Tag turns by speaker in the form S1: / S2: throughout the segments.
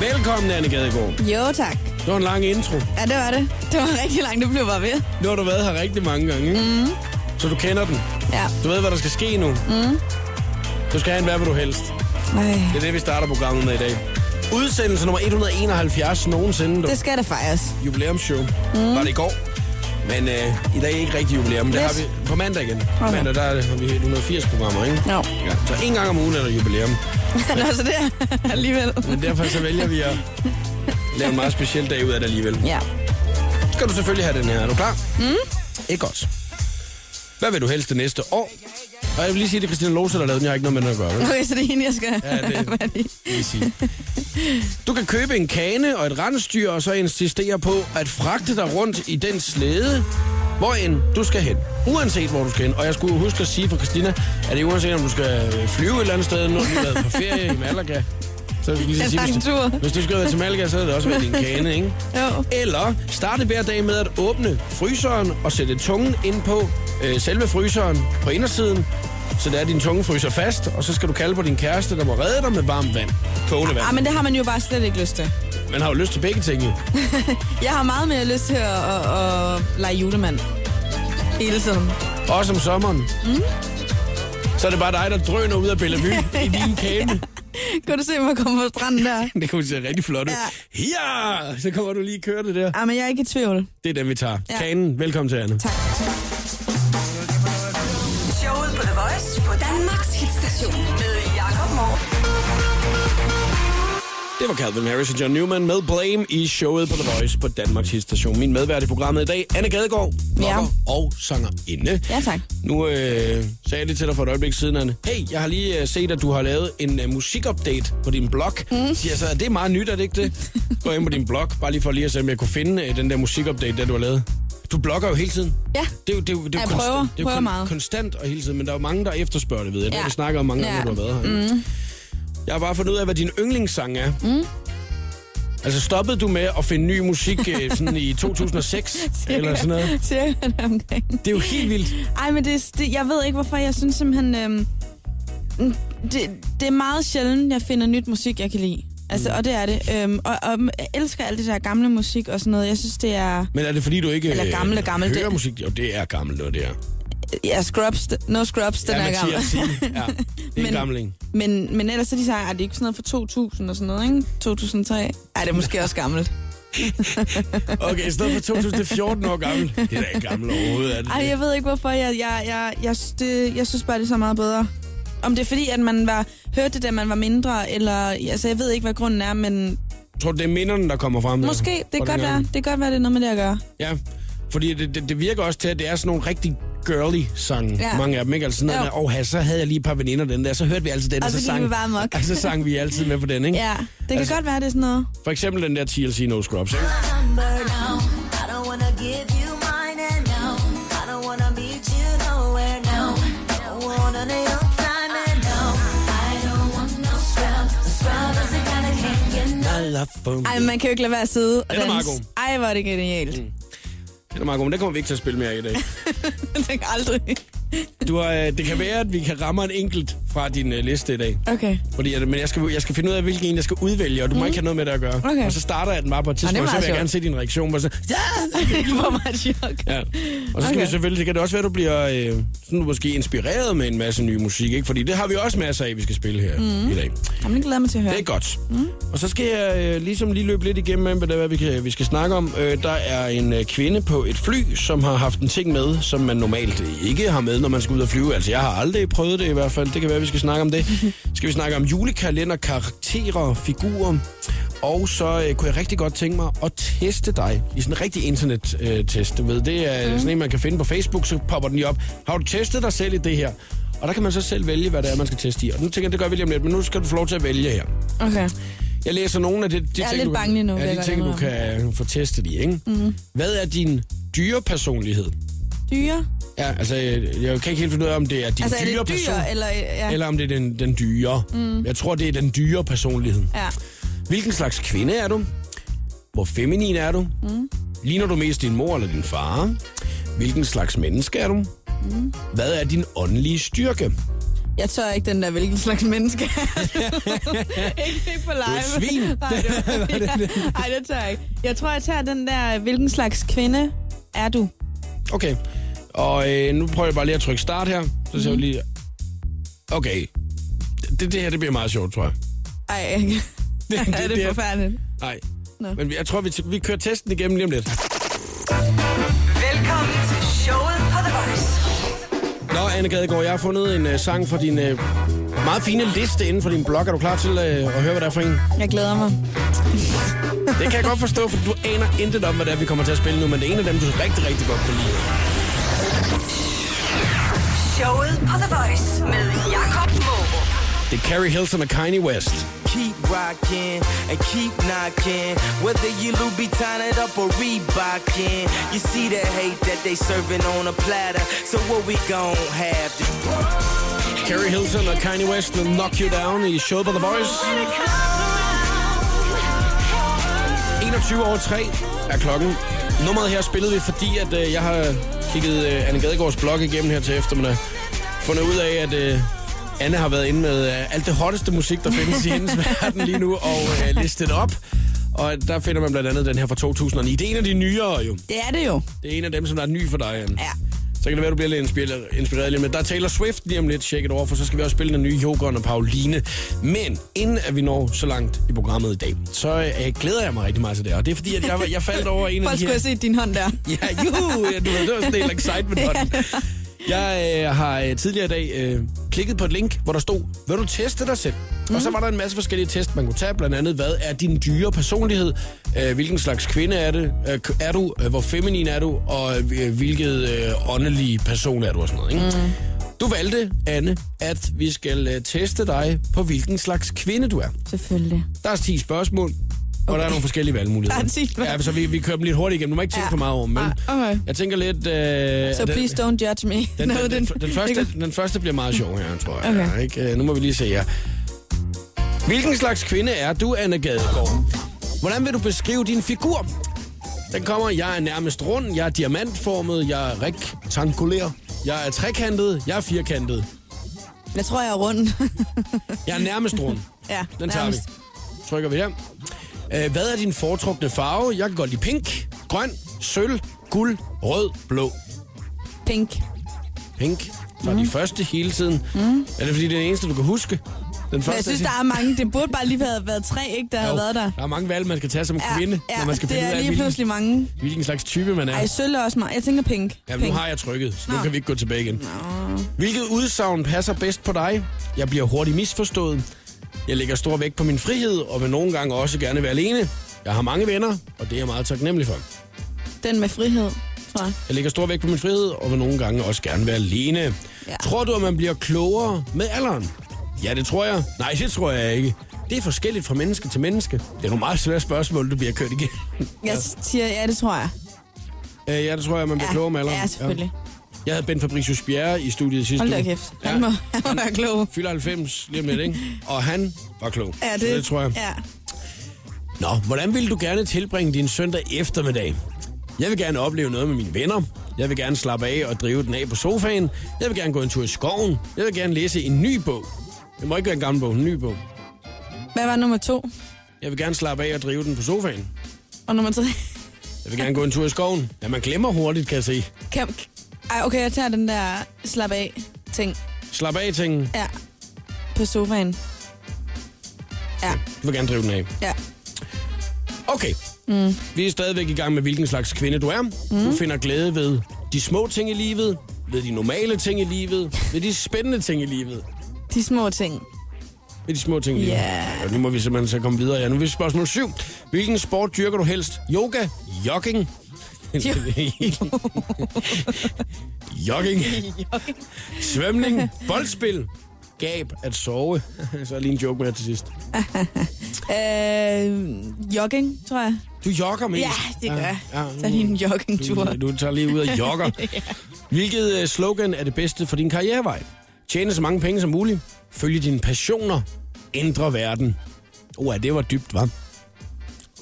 S1: Velkommen, Anne Gadegaard.
S2: Jo, tak.
S1: Det var en lang intro.
S2: Ja, det var det. Det var rigtig langt, det blev bare ved.
S1: Nu har du været her rigtig mange gange, ikke? Mm. Så du kender den.
S2: Ja.
S1: Du ved, hvad der skal ske nu. Mm. Du skal have en hvad vil du helst.
S2: Ej.
S1: Det er det, vi starter programmet med i dag. Udsendelse nummer 171 nogensinde. Du.
S2: Det skal det fejres.
S1: Jubilæumsshow. Mm. Var det i går? Men øh, i dag er ikke rigtig jubilæum. Det
S2: Yes.
S1: har vi på mandag igen.
S2: Okay.
S1: Mandag der er det- har vi 180 programmer, ikke?
S2: Jo.
S1: Ja. Så en gang om ugen er der jubilæum.
S2: Nå, så det er alligevel.
S1: Men derfor så vælger vi at lave en meget speciel dag ud af det alligevel.
S2: Ja.
S1: skal du selvfølgelig have den her. Er du klar? Mm. Ikke godt. Hvad vil du helst det næste år? Og jeg vil lige sige, at det er Christina Lose, der har lavet den. Jeg har ikke noget med den at gøre. vel?
S2: Okay, så det er hende, jeg skal
S1: Ja, det-
S2: have fat i.
S1: Vil jeg sige. Du kan købe en kane og et rensdyr, og så insistere på at fragte dig rundt i den slæde, hvor end du skal hen. Uanset hvor du skal hen. Og jeg skulle huske at sige for Christina, at det er uanset om du skal øh, flyve et eller andet sted, når du er været på ferie i Malaga. Så vil jeg lige
S2: En
S1: sige,
S2: lang
S1: hvis,
S2: tur.
S1: du, hvis du skal være til Malaga, så er det også været din kane, ikke?
S2: Jo.
S1: Eller starte hver dag med at åbne fryseren og sætte tungen ind på øh, selve fryseren på indersiden, så der er din tunge fryser fast, og så skal du kalde på din kæreste, der må redde dig med varmt vand. Kogende vand.
S2: Ah, men det har man jo bare slet ikke lyst til.
S1: Man har jo lyst til begge ting, jo.
S2: Jeg har meget mere lyst til at, at, at lege julemand. Hele tiden.
S1: Også om sommeren. Mm. Så er det bare dig, der drøner ud af Bellevue i din kæbe.
S2: Kan du se mig komme på stranden der?
S1: Det kunne se rigtig flot ud. Ja, så kommer du lige køre det der.
S2: Ah, men jeg er ikke i tvivl.
S1: Det er den, vi tager.
S2: Ja.
S1: Kanen, velkommen til, Anne.
S2: Tak.
S3: Showet på The Voice på Danmarks hitstation med Jakob Morup.
S1: Det var Calvin Harris og John Newman med Blame i showet på The Voice på Danmarks Hitstation. Min medvært i programmet i dag, Anne Gadegaard, blogger ja. og sangerinde.
S2: Ja, tak.
S1: Nu øh, sagde jeg lige til dig for et øjeblik siden, Anne. Hey, jeg har lige øh, set, at du har lavet en øh, musikupdate på din blog. Mm. Siger så, at det er meget nyt, er det ikke det? Gå ind på din blog, bare lige for lige at se, om jeg kunne finde øh, den der musikupdate, der du har lavet. Du blogger jo hele tiden.
S2: Ja.
S1: Det er jo, det er jo, det er jo
S2: Jeg
S1: konstant-
S2: prøver.
S1: det er jo
S2: Prøver meget.
S1: konstant og hele tiden, men der er jo mange, der efterspørger det, ved jeg. Det har
S2: Ja.
S1: vi snakket om mange
S2: Ja.
S1: gange, når du har været her. Mm. Jeg har bare fundet ud af, hvad din yndlingssang er. Mm. Altså, stoppede du med at finde ny musik øh, sådan i 2006 eller sådan noget?
S2: Cirka deromkring.
S1: Det er jo helt vildt.
S2: Ej, men det, det, jeg ved ikke, hvorfor jeg synes simpelthen... Øhm, mm, det, det er meget sjældent, jeg finder nyt musik, jeg kan lide. Altså,
S1: Mm.
S2: og det er det. Øhm, og, og jeg elsker alt det der gamle musik og sådan noget. Jeg synes, det er...
S1: Men er det fordi, du ikke
S2: Eller
S1: øh,
S2: gamle, gamle,
S1: hører
S2: det-
S1: musik? Jo, det er gammelt, noget det er.
S2: Ja, Scrubs, no Scrubs, den
S1: ja,
S2: er gammel.
S1: Mathias Thiel, Ja, det er en
S2: Men-
S1: gammel en.
S2: Men, men ellers er de sagt, at det er ikke sådan noget fra 2000 og sådan noget, ikke? 2003. Ej, det er måske også gammelt.
S1: Okay, i stedet for 2014 år gammel. Det er da ikke gammel overhovedet, er det?
S2: Ej, jeg ved ikke, hvorfor. Jeg, jeg, jeg, jeg, det, jeg synes bare, det er så meget bedre. Om det er fordi, at man var, hørte det, da man var mindre, eller... Altså, jeg ved ikke, hvad grunden er, men
S1: Tror du, det er minderne, der kommer frem? der?
S2: Måske. Det
S1: Fra
S2: kan godt være,
S1: dengang?
S2: det kan godt være, det er noget med det at gøre.
S1: Ja, fordi det, det, det virker også til, at det er sådan nogle rigtig girly sange. Ja.
S2: Ja.
S1: Mange af dem, ikke? Altså sådan noget,
S2: Jo.
S1: der, åh, her, så havde jeg lige et par veninder den der, så hørte vi altid den,
S2: Og så gik
S1: sang,
S2: vi bare amok.
S1: og så sang vi altid med på den, ikke?
S2: Ja, det kan
S1: Altså-
S2: altså, godt være, det er sådan noget.
S1: For eksempel den der TLC No Scrubs, ikke?
S4: number now. I don't wanna give you mine and no. I don't wanna meet you nowhere now. Don't wanna need no time and no. I don't want no scrub. Scrub is the kind of king you know.
S1: I love phone.
S2: Ej, man kan jo ikke lade være at sidde og
S1: Den er meget
S2: danse. Ej, hvor er det genialt. Mm.
S1: Det er meget godt, men det kommer vi ikke til at spille mere i dag.
S2: det kan aldrig.
S1: Du har, øh, det kan være, at vi kan ramme en enkelt fra din øh, liste i dag.
S2: Okay.
S1: Fordi, at, men jeg skal, jeg skal finde ud af, hvilken en jeg skal udvælge, og du mm. må ikke have noget med det at gøre.
S2: Mhm. Okay.
S1: Og så starter jeg den bare på et tidspunkt,
S2: meget
S1: og så vil jeg
S2: sjovt.
S1: gerne se din reaktion. Hvor så, ja!
S2: det var meget chok.
S1: Ja. Og så skal okay.
S2: Okay.
S1: vi selvfølgelig, det kan det også være, at du bliver øh, sådan, måske inspireret med en masse ny musik, ikke? fordi det har vi også masser af, vi skal spille her mm. i dag.
S2: Jamen, det glæder jeg mig til at høre.
S1: Det er godt. Mm. Og så skal jeg øh, ligesom lige løbe lidt igennem, med, hvad det er, vi, kan, vi skal snakke om. Øh, der er en øh, kvinde på et fly, som har haft en ting med, som man normalt øh, ikke har med, når man skal ud og flyve. Altså, jeg har aldrig prøvet det i hvert fald. Det kan være, vi skal snakke om det. skal vi snakke om julekalender, karakterer, figurer. Og så øh, kunne jeg rigtig godt tænke mig at teste dig i sådan en rigtig internet-test. Øh, test, du ved, det er mm. sådan en, man kan finde på Facebook, så popper den lige op. Har du testet dig selv i det her? Og der kan man så selv vælge, hvad det er, man skal teste i. Og nu tænker jeg, det gør vi lige om lidt, men nu skal du få lov til at vælge her.
S2: Okay.
S1: Jeg læser nogle af de, de jeg
S2: er
S1: ting,
S2: lidt
S1: du,
S2: bange lige nu, vil
S1: ja,
S2: jeg
S1: de
S2: godt
S1: ting, du kan øh, få testet i, ikke? Mm. Hvad er din dyrepersonlighed?
S2: Dyre?
S1: Ja, altså, jeg, jeg kan ikke helt finde ud af, om det er din
S2: Altså, er det
S1: dyreperson,
S2: dyr, eller... Ja.
S1: eller om det er den, den dyre. Mm. Jeg tror, det er den dyre personlighed.
S2: ja.
S1: Hvilken slags kvinde er du? Hvor feminin er du? Mm. Ligner du mest din mor eller din far? Hvilken slags menneske er du? Mm. Hvad er din åndelige styrke?
S2: Jeg tør ikke den der, hvilken slags menneske er du? ikke det på live.
S1: et svin.
S2: Nej, det var, ja. Ej, det tør jeg ikke. Jeg tror, jeg tager den der, hvilken slags kvinde er du?
S1: Okay. Og øh, nu prøver jeg bare lige at trykke start her. Så
S2: Mhm.
S1: ser vi lige... Okay. Det, det her, det bliver meget sjovt, tror jeg.
S2: Ej, det,
S1: Det,
S2: er det forfærdeligt?
S1: Nej.
S2: Nå.
S1: Men vi- jeg tror, vi, vi kører testen igennem lige om lidt.
S3: Velkommen til showet på The Voice.
S1: Nå, Anne Gadegaard, jeg har fundet en uh, sang fra din uh, meget fine liste inden for din blog. Er du klar til uh, at høre, hvad der er for en?
S2: Jeg glæder mig.
S1: Det kan jeg godt forstå, for du aner intet om, hvad det er, vi kommer til at spille nu, men det er en af dem, du rigtig, rigtig godt kan lide.
S3: Showet på The Voice med Jakob Morup.
S1: Det er Carrie Hilson og Kanye West.
S5: keep rocking and keep knocking. Whether you Louboutin it up or Reebokin, you see the hate that they serving on a platter. So what we gon' have to
S1: Carrie Hilson og Kanye West med Knock You Down i Show på The Voice. 21 over 3 er klokken. Nummeret her spillede vi, fordi at, øh, jeg har kigget øh, Anne Gadegaards blog igennem her til eftermiddag. Fundet ud af, at øh, Anne har været inde med øh, alt det hotteste musik, der findes i hendes verden lige nu, og øh, listet op. Og der finder man blandt andet den her fra 2009. Det er en af de nyere jo.
S2: Det er det jo.
S1: Det er en af dem, som er ny for dig, Anne.
S2: Ja.
S1: Så kan det være, du bliver lidt inspireret, inspireret lige med. Der er Taylor Swift lige om lidt, check it over, for så skal vi også spille den nye Jokeren og Pauline. Men inden at vi når så langt i programmet i dag, så øh, glæder jeg mig rigtig meget til det. Og det er fordi, at jeg, jeg faldt over en af
S2: Folk
S1: de
S2: skulle
S1: her...
S2: have set din hånd der.
S1: Ja, juhu, ja, du ved, det var sådan en excitement ja, Jeg øh, har øh, tidligere i dag øh, klikket på et link, hvor der stod, vil du teste dig selv? Mm. Og så var der en masse forskellige test, man kunne tage. Blandt andet, hvad er din dyre personlighed? Øh, hvilken slags kvinde er, det, øh, er du? Øh, hvor feminin er du? Og øh, hvilket øh, åndelig person er du? Og sådan noget, ikke? Mm. Du valgte, Anne, at vi skal øh, teste dig på, hvilken slags kvinde du er.
S2: Selvfølgelig.
S1: Der er 10 spørgsmål, og okay. der er nogle forskellige valgmuligheder.
S2: Der er 10 spørgsmål.
S1: Ja, så vi, vi kører dem lidt hurtigt igennem. Du må ikke tænke ja.
S2: Ja.
S1: for meget over dem, men
S2: Ah, okay.
S1: jeg tænker lidt... Øh,
S2: Så
S1: at den-
S2: please don't judge me.
S1: den,
S2: No,
S1: den, den, den, første,
S2: ikke-
S1: den første bliver meget sjov her, tror jeg.
S2: Okay.
S1: Ja, ikke? Øh, Nu må vi lige se her. Hvilken slags kvinde er du, Anna Gadegaard? Hvordan vil du beskrive din figur? Den kommer, jeg er nærmest rund, jeg er diamantformet, jeg er rektangulær, jeg er trekantet, jeg er firkantet.
S2: Jeg tror, jeg er rund.
S1: Jeg er nærmest rund.
S2: ja,
S1: Den tager
S2: nærmest.
S1: vi. Trykker vi der. Øh, Hvad er din foretrukne farve? Jeg kan godt lide pink, grøn, sølv, guld, rød, blå.
S2: Pink.
S1: Pink. Så mm. de første hele tiden. Mm. Er det fordi, det er den eneste, du kan huske? Den
S2: Men
S1: første,
S2: jeg synes,
S1: er
S2: der er mange. Det burde bare lige have været tre, ikke, der havde
S1: Jo,
S2: været der.
S1: Der er mange valg, man skal tage som kvinde,
S2: ja,
S1: når man skal
S2: det
S1: finde
S2: er
S1: ud af,
S2: lige
S1: hvilken,
S2: pludselig mange.
S1: hvilken slags type man er.
S2: Ej, sølv er også meget. Jeg tænker pink.
S1: Jamen, nu
S2: pink.
S1: har jeg trykket, så nu
S2: Nå.
S1: kan vi ikke gå tilbage igen. Hvilket udsagn passer bedst på dig? Jeg bliver hurtigt misforstået. Jeg lægger stor vægt på min frihed, og vil nogle gange også gerne være alene. Jeg har mange venner, og det er jeg meget taknemmelig for.
S2: Den med frihed, tror jeg.
S1: Jeg lægger stor vægt på min frihed, og vil nogle gange også gerne være alene. Ja.
S2: Ja.
S1: Tror du, at man bliver klogere med alderen? Ja, det tror jeg. Nej, det tror jeg ikke. Det er forskelligt fra menneske til menneske. Det er nogle meget svære spørgsmål, du bliver kørt igen.
S2: Jeg siger, ja, det tror jeg.
S1: Øh, ja, det tror jeg, man bliver
S2: Ja,
S1: ja. klogere med alderen.
S2: ja, selvfølgelig. Ja.
S1: Jeg havde Ben Fabricius Bjerre i studiet sidste
S2: Hold da
S1: uge.
S2: kæft.
S1: Ja.
S2: Han må, han må være klog.
S1: Fylder 90 lige om lidt, ikke? Og han var klog.
S2: Ja,
S1: Så det tror jeg.
S2: Ja.
S1: Nå, hvordan ville du gerne tilbringe din søndag eftermiddag? Jeg vil gerne opleve noget med mine venner. Jeg vil gerne slappe af og drive den af på sofaen. Jeg vil gerne gå en tur i skoven. Jeg vil gerne læse en ny bog. Det må ikke være en gammel bog, en ny bog.
S2: Hvad var nummer to?
S1: Jeg vil gerne slappe af og drive den på sofaen.
S2: Og nummer tre?
S1: Jeg vil gerne gå en tur i skoven. Ja, man glemmer hurtigt, kan jeg se.
S2: Kan, ej, okay, jeg tager den der slap af ting.
S1: Slap af, tingen.
S2: Ja. På sofaen. Ja,
S1: Du vil gerne drive den af.
S2: ja.
S1: Okay. Mm. Vi er stadigvæk i gang med, hvilken slags kvinde du er. Mm. Du finder glæde ved de små ting i livet, ved de normale ting i livet, ved de spændende ting i livet.
S2: De små ting.
S1: Med de små ting lige.
S2: Ja.
S1: Og nu må vi simpelthen så komme videre. Ja, nu er vi spørgsmål 7. Hvilken sport dyrker du helst? Yoga? Jogging? Jogging? Svømning? Boldspil? Gab at sove? så er lige en joke med her til sidst.
S2: Øh, jogging, tror jeg.
S1: Du jogger mest.
S2: Ja, det gør jeg.
S1: Ja, Mm. ja,
S2: Så er det en joggingtur.
S1: Du, du tager lige ud og jogger. Hvilket øh, slogan er det bedste for din karrierevej? Tjene så mange penge som muligt. Følge dine passioner. Ændre verden. Åh, oh, ja, det var dybt, var.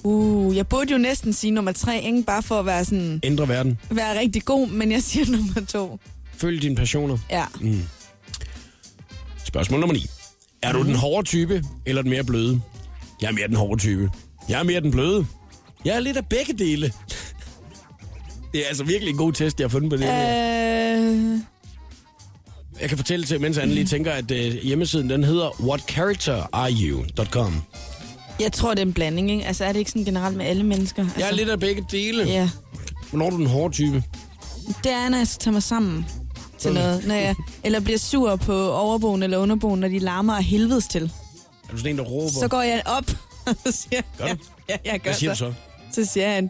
S2: Uh, jeg burde jo næsten sige nummer tre, ikke? Bare for at være, sådan,
S1: Ændre verden.
S2: være rigtig god, men jeg siger nummer to.
S1: Mm. Følg dine passioner.
S2: Ja.
S1: Spørgsmål nummer 9. Er
S2: Mhm.
S1: du den hårde type, eller den mere bløde? Jeg er mere den hårde type. Jeg er mere den bløde. Jeg er lidt af begge dele. Det er altså virkelig en god test, jeg har fundet på det her.
S2: Øh,
S1: Jeg kan fortælle til, mens Anne lige tænker, at øh, hjemmesiden den hedder whatcharacterareyou.com.
S2: jeg tror, det er en blanding, ikke? Altså, er det ikke sådan generelt med alle mennesker? Altså,
S1: Jeg er lidt af begge dele.
S2: Ja.
S1: Hvornår er du den hårde type?
S2: Det er, når jeg skal tage mig sammen til noget. Når jeg, eller bliver sur på overboen eller underboen, når de larmer af helvedes til.
S1: Er du sådan en, der råber?
S2: Så går altså. jeg op og så siger,
S1: Gør du?
S2: ja, ja, jeg gør
S1: Hvad siger du
S2: så.
S1: så?
S2: Så siger jeg,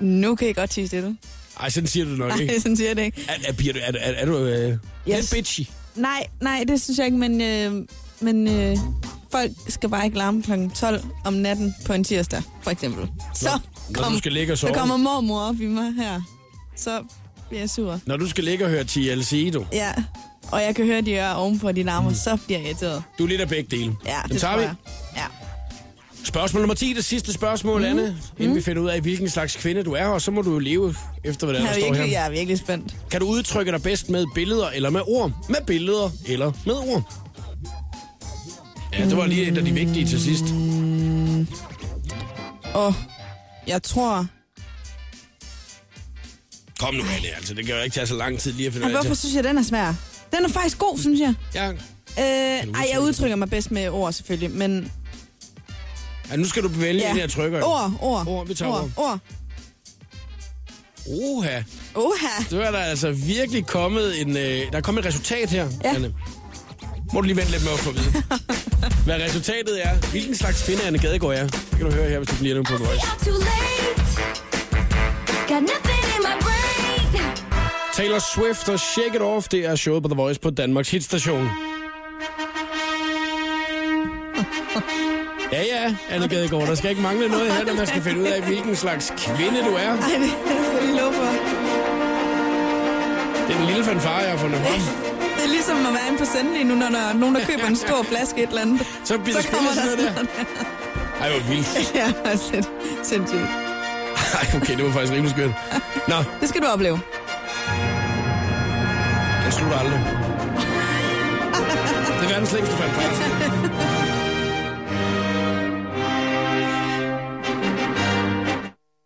S2: nu kan I godt tige stille.
S1: Ej, sådan siger du det nok ikke.
S2: Nej, sådan siger jeg det ikke.
S1: Er, er, bliver du, er, er, er du øh, lidt
S2: Yes.
S1: bitchy?
S2: Nej, nej, det synes jeg ikke, men, øh, men øh, folk skal bare ikke larme kl. 12 om natten på en tirsdag, for eksempel. Så,
S1: når du skal ligge og
S2: så
S1: sove.
S2: kommer mormor op i mig her, så bliver jeg sur.
S1: Når du skal ligge og høre TLC, du.
S2: Ja, og jeg kan høre, de er ovenpå, de larmer, mm. så bliver jeg irriteret.
S1: Du er lidt af begge dele.
S2: Ja,
S1: Den
S2: det
S1: tager
S2: tror
S1: vi.
S2: jeg. Ja.
S1: Spørgsmål nummer 10, det sidste spørgsmål,
S2: Mhm.
S1: mm. Anne. Inden mm. vi finder ud af, hvilken slags kvinde du er, og så må du jo leve efter, hvad der,
S2: Jeg er,
S1: står her.
S2: virkelig, jeg er virkelig spændt.
S1: Kan du udtrykke dig bedst med billeder eller med ord? Med billeder eller med ord? Ja, det var lige et af de vigtige til sidst.
S2: Og jeg tror...
S1: Kom nu, Anne, altså. Det kan jo ikke tage så lang tid lige at finde
S2: Ej,
S1: ud af.
S2: hvorfor
S1: det.
S2: synes jeg, den er svær? Den er faktisk god, synes jeg.
S1: Ja.
S2: Øh, ej, jeg
S1: udtrykke
S2: udtrykker mig bedst med ord, selvfølgelig, men...
S1: ja, nu skal du vælge ja. den her trykker.
S2: Ord, ord.
S1: Ord, vi tager
S2: ord. Ord.
S1: Oha.
S2: Oha.
S1: Så er der altså virkelig kommet en... Øh, der er kommet et resultat her,
S2: Ja.
S1: Anne. Må du lige vente lidt med at få at vide. Hvad resultatet er. Hvilken slags kvinde Anne Gadegaard er. Det kan du høre her, hvis du bliver nu på Voice.
S4: I'm too late. Got nothing in my brain.
S1: Taylor Swift og Shake It Off, det er showet på The Voice på Danmarks hitstation. Ja, ja, Anne Gadegaard, der skal ikke mangle noget her, når man skal finde ud af, hvilken slags kvinde du er.
S2: Ej, det er jeg love for.
S1: Det er den lille fanfare, jeg har fundet frem.
S2: Det er ligesom at være inde på sendelig nu, når der er nogen, der køber en stor flaske et eller andet.
S1: Så bliver det spillet sådan noget der. Ej, hvor vildt.
S2: Ja, altså, sindssygt.
S1: Ej, okay, det var faktisk rimelig skørt. Nå,
S2: Det skal du opleve.
S1: den slutter aldrig. Det er verdens længste fanfare.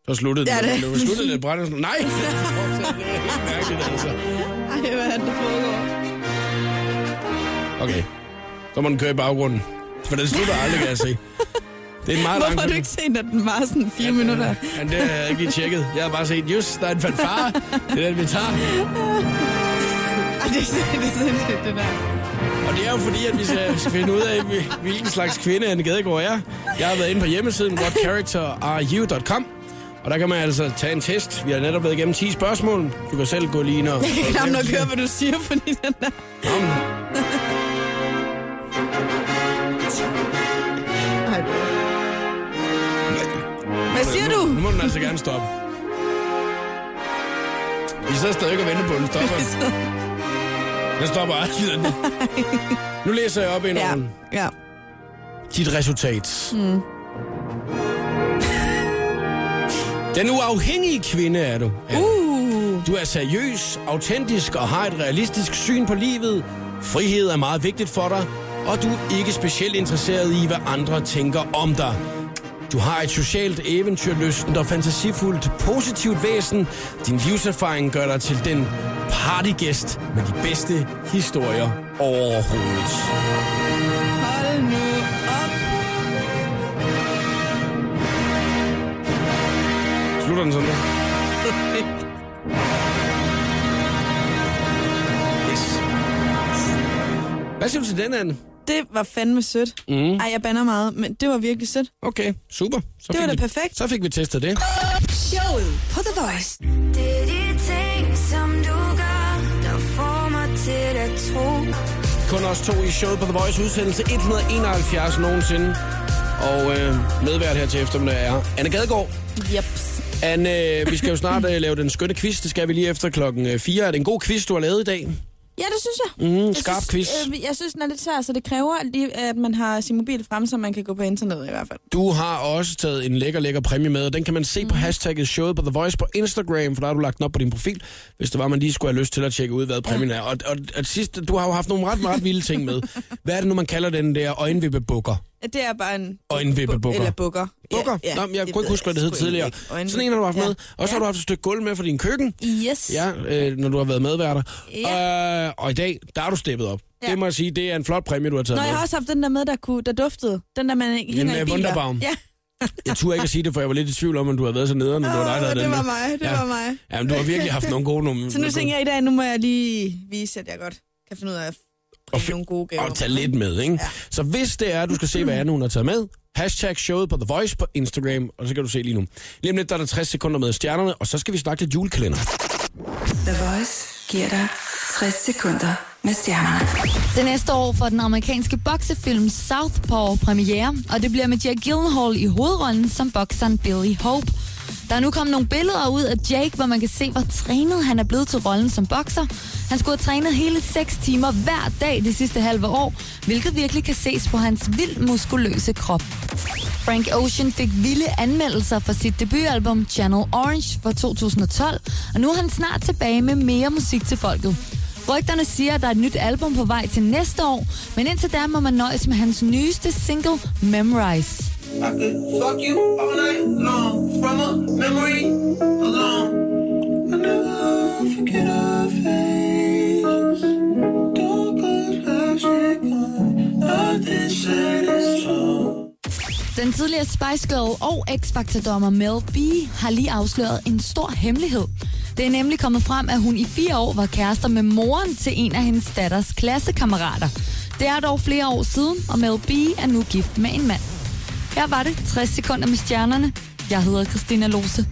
S1: Så sluttede den.
S2: Ja, det-
S1: det. Sluttede det brændende. Nej! Det er helt mærkeligt, altså.
S2: Ej, hvad er det, der foregår?
S1: Okay. Så må den køre i baggrunden. For den slutter aldrig, kan jeg se. Det er en meget lang...
S2: Hvorfor har du ikke set, at den var sådan fire minutter?
S1: Men det har jeg ikke lige tjekket. Jeg har bare set, just, der er en fanfare. Det er den, vi tager.
S2: Ej, det er sindssygt, det, er sindssygt, det der.
S1: Og det er jo fordi, at vi skal skal finde ud af, hvil- hvilken slags kvinde Anne Gadegaard er. Jeg har været inde på hjemmesiden whatcharacterareyou.com. Og der kan man altså tage en test. Vi har netop været igennem 10 spørgsmål. Du kan selv gå lige ind og...
S2: Jeg kan knap nok høre, hvad du siger, fordi den der...
S1: Nå, men
S2: Ej. Hvad siger du?
S1: Nu, nu må den altså gerne stoppe. Vi sidder stadig og venter på, at den stopper. Den stopper aldrig. den. Nu læser jeg op ind
S2: Ja,
S1: over den.
S2: ja.
S1: dit resultat. Mm. Den uafhængige kvinde er du. Anne.
S2: Uh.
S1: Du er seriøs, autentisk og har et realistisk syn på livet. Frihed er meget vigtigt for dig, og du er ikke specielt interesseret i, hvad andre tænker om dig. Du har et socialt eventyrlystent og fantasifuldt positivt væsen. Din livserfaring gør dig til den partygæst med de bedste historier overhovedet.
S2: Hold nu op.
S1: Slutter den sådan der? Yes. Hvad siger du til den, Anne?
S2: Det var fandme sødt. Mm. Ej, jeg banner meget, men det var virkelig sødt.
S1: Okay, super. Så
S2: Det var
S1: fik
S2: da
S1: vi,
S2: perfekt.
S1: Så fik vi testet det.
S3: Showet på The Voice.
S4: Det er de ting, som du gør, der får mig til at tro.
S1: Kun os to i showet på The Voice udsendelse 171 nogensinde. Og øh, medvært her til eftermiddag er Anne Gadegaard.
S2: Jeps.
S1: øh, Anne, øh, vi skal jo snart øh, lave den skønne quiz. Det skal vi lige efter klokken 4. Er det en god quiz, du har lavet i dag?
S2: Ja, det synes jeg.
S1: Mm,
S2: Jeg
S1: skarp
S2: synes,
S1: quiz.
S2: Øh, jeg synes, den er lidt svær, så det kræver, lige, at man har sin mobil frem, så man kan gå på internettet i hvert fald.
S1: Du har også taget en lækker, lækker præmie med, og den kan man se mm.
S2: Mhm.
S1: på hashtagget showet på The Voice på Instagram, for der har du lagt den op på din profil, hvis det var, man lige skulle have lyst til at tjekke ud, hvad præmien er. Og, og, og sidst, du har jo haft nogle ret, ret vilde ting med. Hvad er det nu, man kalder den der øjenvippebukker?
S2: Det er bare en...
S1: Og en vippebukker.
S2: Eller bukker.
S1: Bukker? Ja, ja, Nå, men jeg kunne ikke huske, hvad det hed tidligere. Sådan en har du haft ja. med. Og så har du haft et stykke gulv med fra din køkken.
S2: Yes.
S1: Ja, øh, når du har været medværter. Ja. Øh, og i dag, der er du steppet op. Ja.
S2: Ja.
S1: Det må jeg sige, det er en flot præmie, du har taget
S2: Nå, jeg
S1: med.
S2: har også haft den der med, der, kunne, der duftede. Den der, man ikke hænger
S1: øh,
S2: i biler.
S1: Wunderbaum.
S2: Ja.
S1: Jeg turde ikke at sige det, for jeg var lidt i tvivl om, om du havde været så nederen, når det var dig, der havde
S2: Åh, det
S1: den
S2: var
S1: med.
S2: mig, det
S1: ja.
S2: var mig.
S1: Jamen, du har virkelig haft nogle gode numre.
S2: Så nu tænker jeg i dag, nu må jeg lige vise, at jeg godt kan finde ud af at
S1: Og
S2: bringe
S1: fi-
S2: nogle gode gaver.
S1: Og tage lidt med, ikke? Ja. Så hvis det er, at du skal se, hvad Anne hun har taget med, hashtag showet på The Voice på Instagram, og så kan du se lige nu. Lige om lidt, der er der 60 sekunder med stjernerne, og så skal vi snakke lidt julekalender.
S3: The Voice giver dig 60 sekunder med stjernerne.
S6: Det næste år får den amerikanske boksefilm Southpaw premiere, og det bliver med Jack Gyllenhaal i hovedrollen som bokseren Billy Hope. Der er nu kommet nogle billeder ud af Jake, hvor man kan se, hvor trænet han er blevet til rollen som bokser. Han skulle have trænet hele 6 timer hver dag det sidste halve år, hvilket virkelig kan ses på hans vildt muskuløse krop. Frank Ocean fik vilde anmeldelser for sit debutalbum Channel Orange fra 2012, og nu er han snart tilbage med mere musik til folket. Rygterne siger, at der er et nyt album på vej til næste år, men indtil da må man nøjes med hans nyeste single, Memorize.
S7: I could fuck you all night long from a memory alone. I never forget her face. Don't put her shake on. Nothing said is true.
S6: Den tidligere Spice Girl og X-Factor-dommer Mel B har lige afsløret en stor hemmelighed. Det er nemlig kommet frem, at hun i fire år var kærester med moren til en af hendes datters klassekammerater. Det er dog flere år siden, og Mel B er nu gift med en mand. Her var det 60 sekunder med stjernerne. Jeg hedder Christina Lose.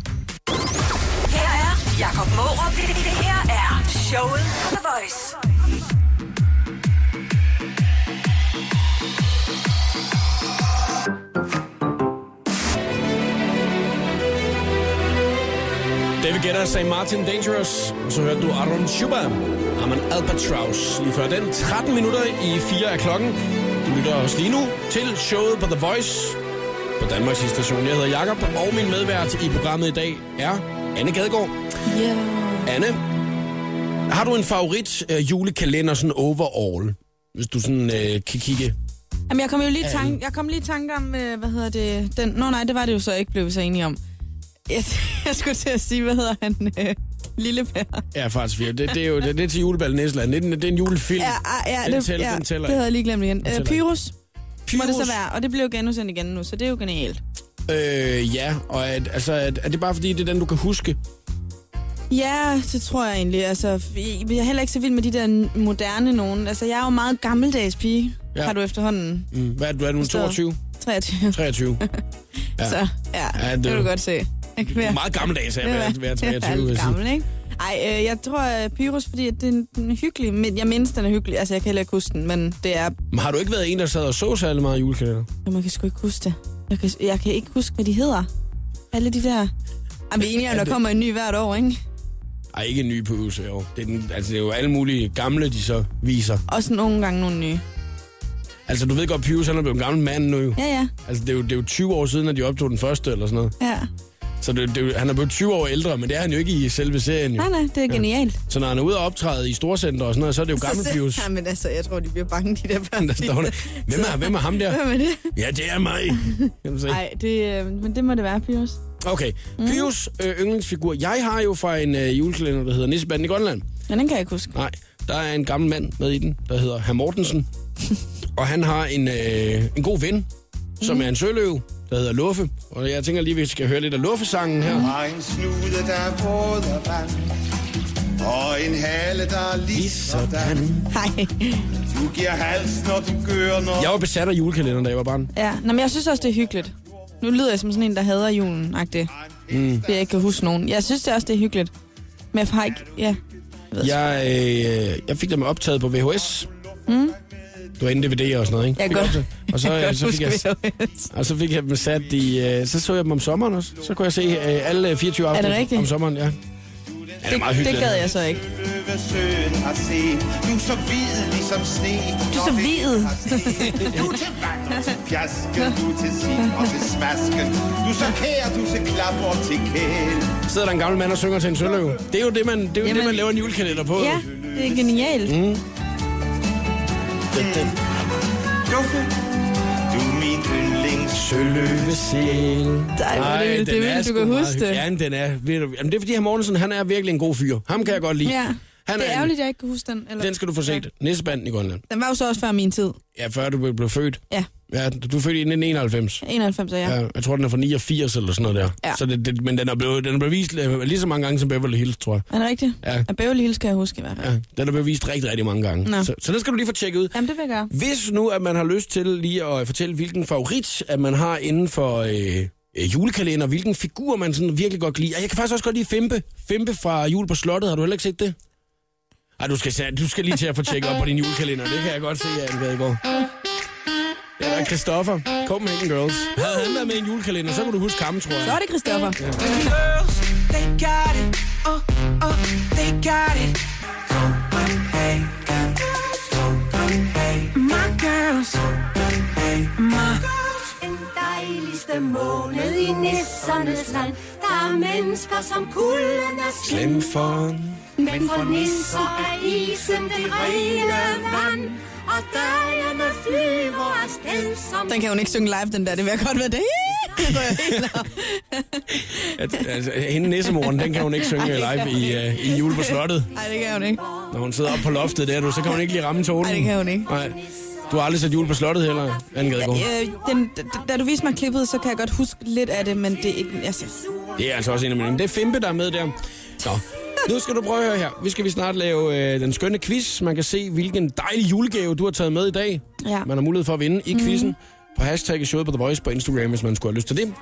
S3: Her er Jakob Morup. Det, det, det her er showet på The Voice.
S1: David Guetta sagde Martin Dangerous, og så hørte du Aaron Schuba, Arman Albatraus. Lige før den, 13 minutter i 4 af klokken. Du lytter også lige nu til showet på The Voice på Danmarks station. Jeg hedder Jakob og min medvært i programmet i dag er Anne Gadegaard. Yeah. Anne, har du en favorit øh, julekalender sådan overall? Hvis du sådan øh, kan kigge.
S2: Jamen, jeg kom jo lige i tanke, jeg kom lige i tanke om, øh, hvad hedder det, den... Nå nej, det var det jo så ikke, blev vi så enige om. Jeg, jeg skulle til at sige, hvad hedder han? Øh, Lillebær.
S1: Ja, faktisk. Det, det, er jo det, det er til juleballen Næsland. Det, er en- det er en julefilm.
S2: Ja, ah, ja,
S1: Den
S2: det,
S1: tæller-
S2: ja,
S1: den tæller
S2: det havde jeg lige glemt igen. Øh,
S1: tæller
S2: Pyrus, må det
S1: Pyrus.
S2: så være, og det blev jo genudsendt igen nu, så det er jo genialt.
S1: Øh, ja, og at, altså, at, er det bare fordi, det er den, du kan huske?
S2: Ja, det tror jeg egentlig. Altså, jeg er heller ikke så vild med de der moderne nogen. Altså, jeg er jo meget gammeldags pige,
S1: Ja.
S2: ja. har du efterhånden.
S1: Mm. Hvad, er du- er du, nu,
S2: Forstået.
S1: 22?
S2: 23.
S1: 23.
S2: Ja. Så ja,
S1: Ja,
S2: ja det,
S1: det
S2: det
S1: er
S2: kan
S1: jo-
S2: du godt se. Jeg kan
S1: Det er
S2: være,
S1: meget gammeldags af at
S2: det
S1: være,
S2: er-
S1: være
S2: det er
S1: 23.
S2: lidt
S1: vil jeg sige.
S2: gammel, ikke? Ej, øh, jeg tror øh, Pyrus, fordi at den, den er hyggelig. Men jeg mindst, den er hyggelig. Altså, jeg kan heller ikke huske den, men det er...
S1: Men har du ikke været en, der sad og så særlig meget julekalender?
S2: Man kan sgu ikke huske det. Jeg kan, jeg kan ikke huske, hvad de hedder. Alle de der... Ej, vi er enige om,
S1: Ja,
S2: der
S1: det-
S2: kommer en ny hvert år, ikke?
S1: Ej, ikke en ny på øvelse i år. Det er, den, altså, det er jo alle mulige gamle, de så viser.
S2: Også nogle gange nogle nye.
S1: Altså, du ved godt, Pius han er blevet en gammel mand nu. jo.
S2: Ja, ja.
S1: Altså, det er, jo, det er jo 20 år siden, at de optog den første eller sådan noget.
S2: ja.
S1: Så det, det, er jo- han er blevet 20 år ældre, men det er han jo ikke i selve serien. Jo.
S2: Nej, nej, det er genialt.
S1: Så når han er ude og optræde i storcenter og sådan noget, så er det jo gammel
S2: så,
S1: Pius.
S2: Ja, men altså, jeg tror, de bliver bange, de der børn.
S1: Der står der, hvem er, hvem er ham der?
S2: Hvem er det?
S1: Ja, det er mig. Kan du se?
S2: Nej, det, øh, men det må det være, Pyrus.
S1: Okay, Pius øh, yndlingsfigur. Jeg har jo fra en øh, julekalender, der hedder Nissebanden i Grønland.
S2: Men den kan jeg ikke huske.
S1: Nej, der er en gammel mand med i den, der hedder Herr Mortensen. og han har en, øh, en god ven, som
S2: Mm.
S1: er en søløve, der hedder Luffe. Og jeg tænker lige, vi skal høre lidt af Luffe-sangen her.
S8: Har en snude, der er vand Og en hale, der er
S2: Mm.
S8: lige sådan
S2: Nej.
S8: Du giver hals, når du gør noget
S1: Jeg var besat af julekalenderen, da jeg var barn.
S2: Ja, Nå, men jeg synes også, det er hyggeligt. Nu lyder jeg som sådan en, der hader julen, agtig. Mm. Jeg ikke kan huske nogen. Jeg synes det også, det er hyggeligt. Men jeg har ikke... Ja.
S1: Jeg, øh, jeg fik dem optaget på VHS. Mm. Du var inde i DVD'er og sådan noget, ikke?
S2: Jeg
S1: Fik
S2: kan godt-
S1: optaget. Og så,
S2: jeg kan
S1: øh, så,
S2: godt
S1: fik jeg,
S2: huske VHS.
S1: og så fik jeg dem sat i... Øh, så så jeg dem om sommeren også. Så kunne jeg se øh, alle 24
S2: det
S1: afsnit
S2: rigtigt?
S1: om sommeren, ja. Ja, det er meget
S2: det
S1: hyggeligt.
S2: gad jeg så ikke.
S8: Løve søen har set. Du er så hvid ligesom sne.
S2: Du er så
S8: når
S2: hvid.
S8: vinden har sne. Du er til vand og til pjasken, du er til sin og til smasken. Du er så kær, du er til klap og til kæl.
S1: Sidder der en gammel mand og synger til en søløve. Det er jo det, man, det er jo det,
S2: Jamen.
S1: man laver en julekalender på.
S2: Ja, det er genialt. Mm.
S1: Den, den
S8: Luffe, du er min yndlings
S1: søløvesel.
S2: Ej, hvor er det vildt. Det er vildt, du kan huske det.
S1: Ja, men den er. Ved du, jamen, det er fordi, her Mortensen, han er virkelig en god fyr. Ham kan jeg godt lide.
S2: Ja.
S1: Han
S2: det er
S1: en-
S2: ærgerligt, at jeg ikke kan huske den. Eller...
S1: Den skal du få set. Nissebanden i Grønland.
S2: Den var jo så også før min tid.
S1: Ja, før du blev født.
S2: Ja,
S1: Ja, du er født i 1991.
S2: 91 er jeg. Ja.
S1: Ja, jeg tror, den er fra 89 eller sådan noget der.
S2: Ja.
S1: Så det, det, men den er, blevet, den er blevet vist øh, lige så mange gange som Beverly Hills, tror jeg.
S2: Er det rigtigt?
S1: Ja.
S2: Og Beverly Hills kan jeg huske i hvert fald. Ja.
S1: Ja, den er blevet vist rigtig, rigtig mange gange.
S2: Nå.
S1: Så, så den skal du lige få tjekket ud.
S2: Jamen, det vil jeg gøre.
S1: Hvis nu, at man har lyst til lige at fortælle, hvilken favorit, at man har inden for øh, øh, julekalender, hvilken figur, man sådan virkelig godt kan lide. Og jeg kan faktisk også godt lide Fempe. Fempe fra Jul på Slottet. Har du heller ikke set det? Ej, du skal, se- du skal lige til at få tjekket op på din julekalender. Det kan jeg godt se, Anne Gadegaard. Ja, der er Christoffer. Copenhagen Girls. Havde han været med i en julekalender, så kunne du huske ham, tror jeg.
S2: Så er det Christoffer. Ja.
S5: Girls, they got it. Oh, oh, they got it.
S3: My girls. My En dejligste måned i nissernes land. Der er mennesker som kulden er slem.
S1: Glem for
S3: Men for nisser er isen det rene vand. Og dagene flyver afsted som...
S2: Den kan hun ikke synge live, den der. Det vil jeg godt være det.
S1: at, altså, hende nissemoren, den kan hun ikke synge live i, øh, i Jul på Slottet.
S2: Nej, det kan hun ikke.
S1: Når hun sidder oppe på loftet der, du, så kan hun ikke lige ramme tonen.
S2: Nej, det kan hun ikke.
S1: Nej. Du har aldrig set jul på slottet heller, Anne Gadegaard.
S2: Øh, den, da- da du viste mig klippet, så kan jeg godt huske lidt af det, men det er ikke... Altså,
S1: Det er altså også en af mine. Det er Fimpe, der er med der. Nå. Nu skal du prøve at høre her. Vi skal vi snart lave øh, den skønne quiz. Man kan se, hvilken dejlig julegave, du har taget med i dag.
S2: Ja. Mhm.
S1: Man har mulighed for at vinde i quizzen. På hashtag showet på The Voice på Instagram, hvis man skulle have lyst til det.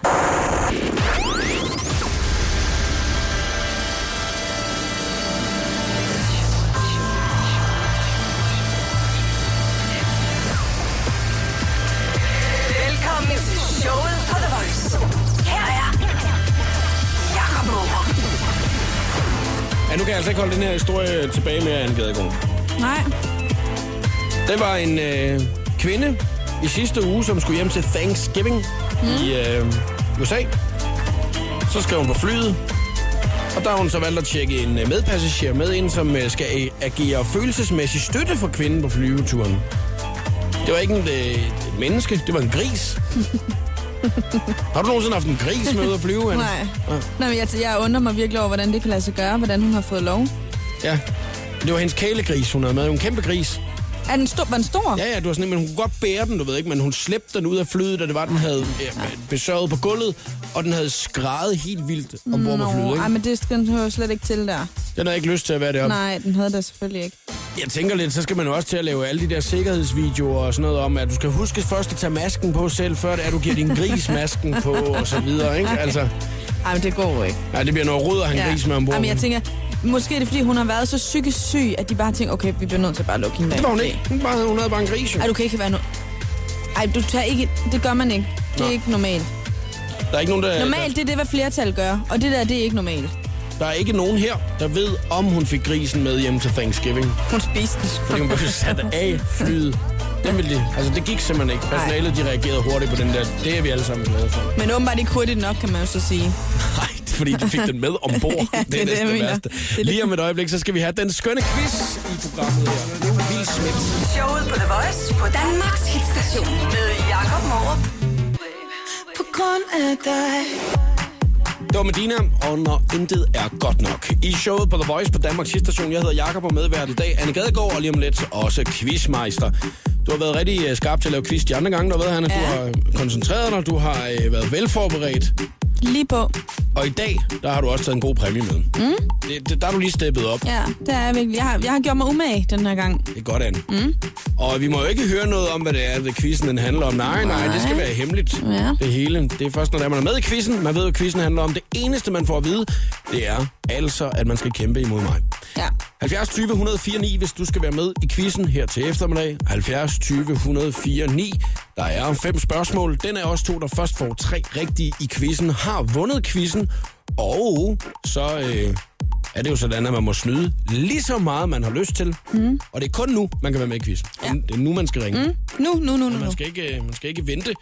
S3: Velkommen til showet på The Voice. Her er Jakob Morup.
S1: Ja, nu kan jeg altså ikke holde den her historie tilbage med Anne Gadegaard.
S2: nej.
S1: Det var en øh, kvinde i sidste uge, som skulle hjem til Thanksgiving mm. i øh, USA. Så skrev hun på flyet, og der har hun så valgt at tjekke en øh, medpassager med ind, som øh, skal øh, agere følelsesmæssig støtte for kvinden på flyveturen. Det var ikke en, øh, et menneske, det var en gris. har du nogensinde haft en gris med ud at flyve, Anne?
S2: Nej. Nej, men jeg, altså, jeg undrer mig virkelig over, hvordan det kan lade sig gøre, hvordan hun har fået lov.
S1: Ja. Det var hendes kælegris, hun havde med. En kæmpe gris.
S2: Er den stor? Var den stor?
S1: Ja, ja, du var sådan, en, men hun kunne godt bære den, du ved ikke, men hun slæbte den ud af flyet, da det var, den havde ja, besørget på gulvet, og den havde skrejet helt vildt ombord på flyet,
S2: Nå, ej,
S1: ikke?
S2: men det skal den hører jo slet ikke til der.
S1: Den havde ikke lyst til at være deroppe.
S2: Nej, den havde der selvfølgelig ikke.
S1: Jeg tænker lidt, så skal man jo også til at lave alle de der sikkerhedsvideoer og sådan noget om, at du skal huske først at tage masken på selv, før det er, du giver din gris masken på og så videre, ikke? Altså,
S2: Ej, men det går jo ikke.
S1: nej, det bliver noget rod at have en gris med ombord.
S2: Ej, men jeg tænker, måske er det, fordi hun har været så psykisk syg, at de bare tænker, okay, vi bliver nødt til at bare lukke hende af.
S1: det var hun ikke. Hun, bare, hun havde bare en gris, jo.
S2: Ej, du kan ikke være no... Ej, du tager ikke... Det gør man ikke. Det er
S1: Nå.
S2: ikke normalt.
S1: Der er ikke nogen, der,
S2: Normalt, det er det, hvad flertal gør. Og det der, det er ikke normalt.
S1: Der, der er ikke nogen her, der ved, om hun fik grisen med hjem til Thanksgiving.
S2: Hun spiste den.
S1: fordi hun blev sat af flyet. Den ville de, altså det gik simpelthen ikke. Personalet de reagerede hurtigt på den der. Det er vi alle sammen glade for.
S2: Men åbenbart ikke hurtigt nok, kan man jo så sige.
S1: Nej, det er fordi de fik den med ombord.
S2: Ja, det er det, jeg mener. Det er det.
S1: Lige om et øjeblik, så skal vi have den skønne quiz i programmet her. Vil Smith.
S3: Showet på The Voice på Danmarks hitstation med Jakob Morup.
S4: På grund af dig
S1: Det var Medina, og når intet er godt nok. I showet på The Voice på Danmarks station, jeg hedder Jakob og medvært i dag, Anne Gadegaard og lige om lidt også quizmeister. Du har været rigtig øh, skarp til at lave quiz de andre gange, der ved, Hanne. Du har øh, koncentreret dig, du har øh, været velforberedt.
S2: Lige på.
S1: Og i dag, der har du også taget en god præmie med. Mm. Det, det, der er du lige steppet op.
S2: Ja, det er jeg virkelig. Jeg har, jeg har gjort mig umage den her gang.
S1: Det er godt, Anne. Mm. Og vi må jo ikke høre noget om, hvad det er, det quizzen den handler om. Nej, nej, det skal være hemmeligt,
S2: Ja.
S1: det hele. Det er først, når det er, man er med i quizzen. Man ved, hvad quizzen handler om. Det eneste, man får at vide, det er altså, at man skal kæmpe imod mig.
S2: Ja.
S1: 70 20 104 9, hvis du skal være med i quizzen her til eftermiddag. 70 20 104 9. Der er fem spørgsmål. Den er også to, der først får tre rigtige i quizzen, har vundet quizzen, og så øh, er det jo sådan, at man må snyde lige så meget, man har lyst til. Mm. Og det er kun nu, man kan være med i quizzen. Ja. Det er nu, man skal ringe. Mm.
S2: Nu, nu, nu, nu. nu.
S1: Man, skal ikke, øh, man skal ikke vente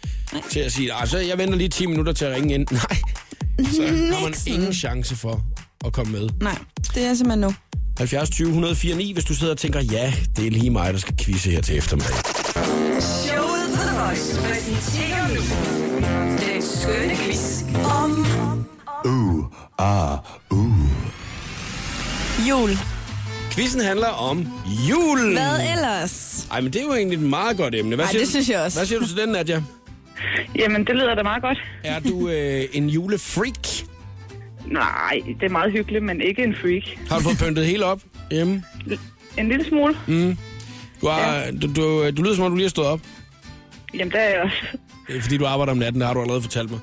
S1: til at sige, altså jeg venter lige 10 minutter til at ringe ind. Nej, så har man
S2: Nixon.
S1: ingen chance for at komme med.
S2: Nej, det er simpelthen nu.
S1: 70 20 104 9, hvis du sidder og tænker, ja, det er lige mig, der skal quizze her til eftermiddag.
S9: Showet på The Voice præsenterer nu den skønne quiz om
S2: Jul.
S1: Quizzen handler om jul.
S2: Hvad ellers?
S1: Ej, men det er jo egentlig et meget godt emne. Hvad
S2: Ej,
S1: siger
S2: det
S1: du-
S2: synes jeg også.
S1: Hvad siger du til den, Nadja?
S10: Jamen, det lyder da meget godt.
S1: Er du øh, en julefreak?
S10: Nej, det er meget hyggeligt, men ikke en freak.
S1: Har du fået pyntet helt op hjemme?
S10: En lille smule. Mm.
S1: Du, har, ja. du, du, du lyder som om, du lige har stået op.
S10: Jamen, der er jeg også.
S1: Det er fordi, du arbejder om natten, det har du allerede fortalt mig.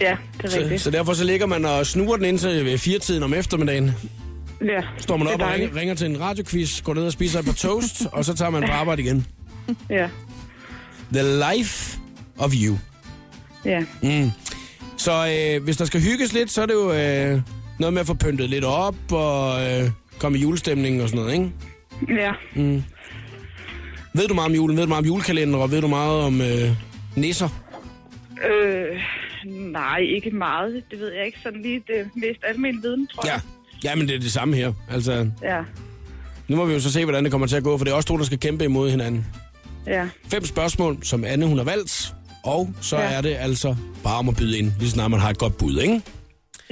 S10: Ja, det er
S1: Så,
S10: rigtigt.
S1: så derfor så ligger man og snuger den indtil ved firetiden om eftermiddagen.
S10: Ja,
S1: Står man
S10: det er
S1: op og
S10: dejligt.
S1: ringer, ringer til en radioquiz, går ned og spiser et par toast, og så tager man på arbejde igen.
S10: Ja,
S1: The life of you.
S10: ja.
S1: Så øh, hvis der skal hygges lidt, så er det jo øh, noget med at få pyntet lidt op og øh, komme i julestemningen og sådan noget, ikke?
S10: Ja,
S1: Ved du meget om julen? Ved du meget om julekalender? Og ved du meget om øh, nisser?
S10: øh, nej, ikke meget. Det ved jeg ikke. Sådan lige det mest almindelige viden, tror
S1: Ja.
S10: jeg.
S1: Ja, men det er det samme her. Altså,
S10: Ja,
S1: nu må vi jo så se, hvordan det kommer til at gå, for det er også to, der skal kæmpe imod hinanden.
S10: ja.
S1: Fem spørgsmål, som Anne hun har valgt, og så ja.
S10: Ja.
S1: er det altså bare om at byde ind, lige så snart man har et godt bud, ikke?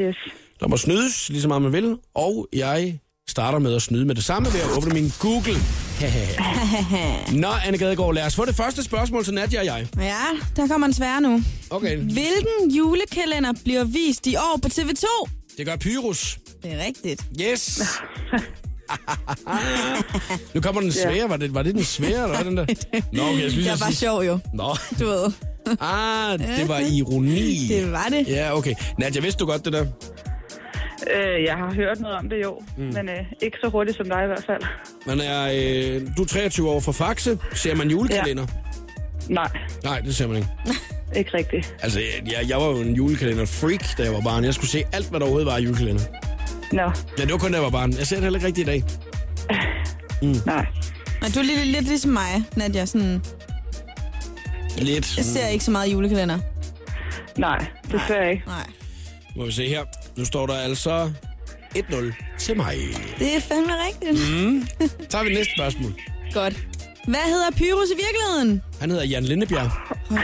S10: Yes.
S1: Der må snydes, lige så meget man vil, og jeg starter med at snyde med det samme ved at åbne min Google. Nå, Anne Gadegaard, lad os få det første spørgsmål til Nadia og jeg.
S2: Ja, der kommer en svær nu.
S1: Okay.
S2: Hvilken julekalender bliver vist i år på TV2?
S1: Det gør Pyrus.
S2: Det er rigtigt.
S1: Yes! nu kommer den svære. Var det, var det den svære, eller hvad den der? Nå, okay, jeg synes,
S2: Det
S1: jeg
S2: var bare
S1: siger-
S2: sjov jo,
S1: Nå,
S2: du ved.
S1: ah, det var ironi.
S2: Det var det.
S1: Ja, okay. Nadia, vidste du godt det der?
S10: Øh, jeg har hørt noget om det jo, mm. men øh, ikke så hurtigt som dig i hvert fald.
S1: Man er, øh, du er 23 år fra Faxe. Ser man julekalender? Ja.
S10: Nej,
S1: Nej, det ser man ikke.
S10: ikke rigtigt.
S1: Altså, jeg- jeg, jeg var jo en julekalender-freak, da jeg var barn. Jeg skulle se alt, hvad der overhovedet var i julekalender.
S10: Nå,
S1: Ja, det var kun, da jeg var barn. Jeg ser det heller ikke rigtigt i dag.
S10: nej.
S2: Men du er lidt, lidt ligesom mig, Nadia. Sådan,
S1: Lidt.
S2: jeg ser ikke så meget julekalender.
S10: Nej, desværre ikke.
S2: Nej.
S1: Må vi se her. Nu står der altså 1-0 til mig.
S2: Det er fandme rigtigt. Mm.
S1: Tager vi næste spørgsmål.
S2: Godt. Hvad hedder Pyrus i virkeligheden?
S1: Han hedder Jan Lindebjerg.
S2: Du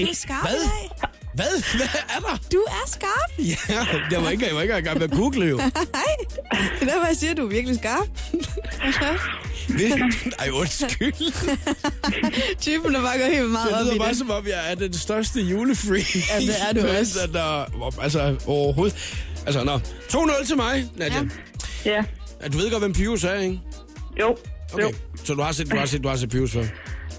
S2: er skarp
S1: Hvad?
S2: i dag.
S1: Hvad? Hvad er der?
S2: Du er skarp.
S1: Ja, jeg var ikke, jeg var ikke engang med at google jo.
S2: Det er derfor, jeg siger, at du er virkelig skarp.
S1: Hvilken- Ej, undskyld.
S2: Typen, der bare går helt meget
S1: Det
S2: op i
S1: lyder bare
S2: det.
S1: som om, jeg er den største julefreak.
S2: Ja, det er du også.
S1: Altså, der, altså overhovedet. Altså, nå. 2-0 til mig, Nadia.
S2: Ja.
S10: Ja,
S1: Ja. Du ved godt, hvem Pyrus er, ikke?
S10: jo.
S1: Okay.
S10: Jo,
S1: Så du har set, du har set, du har set Pyrus før.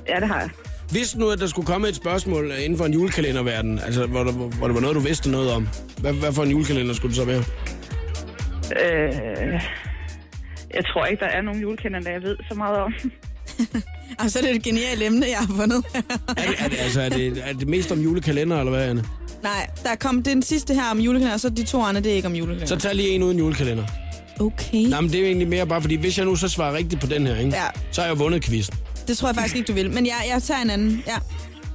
S10: ja, det har jeg.
S1: Hvis nu, at der skulle komme et spørgsmål øh, inden for en julekalenderverden, altså hvor, der, hvor det var noget, du vidste noget om, hvad, hvad for en julekalender skulle det så være?
S10: Øh, jeg tror ikke, der er nogen julekalender, jeg ved så meget om.
S2: Og så er det et genialt emne, jeg har fundet.
S1: Er det, er det, altså, er det, er det mest om julekalender, eller hvad, Anne?
S2: Nej, der kom den sidste her om julekalender, og så de to andre, det er ikke om
S1: Så
S2: julekalender.
S1: tag lige en uden julekalender.
S2: Okay.
S1: Nej, men det er jo egentlig mere bare, fordi hvis jeg nu så svarer rigtigt på den her, ikke?
S2: Ja.
S1: så har jeg vundet quizzen.
S2: Det tror jeg faktisk ikke, du vil. Men jeg, jeg tager en anden. Ja.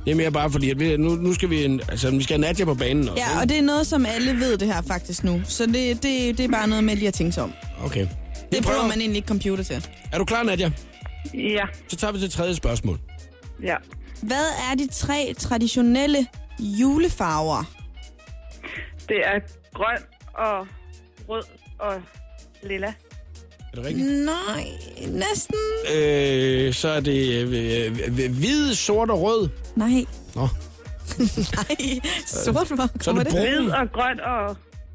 S1: Det er mere bare fordi, at vi, nu, nu skal vi, en, altså, vi skal have Nadia på banen også.
S2: ja, og det er noget, som alle ved det her faktisk nu. Så det, det, det er bare noget med lige at tænke sig om.
S1: ikke? Okay.
S2: Det prøver man egentlig ikke computer til.
S1: Er du klar, Nadia?
S10: Ja,
S1: Så tager vi til tredje spørgsmål.
S10: ja.
S2: Hvad er de tre traditionelle julefarver?
S10: Det er grøn og rød og lilla.
S1: Er det rigtigt?
S2: Nej, næsten.
S1: Øh, så er det øh, øh, hvid, sort og rød.
S2: Nej.
S1: Nå.
S2: Nej, sort var
S1: Så er det brun.
S10: Hvid og grøn og,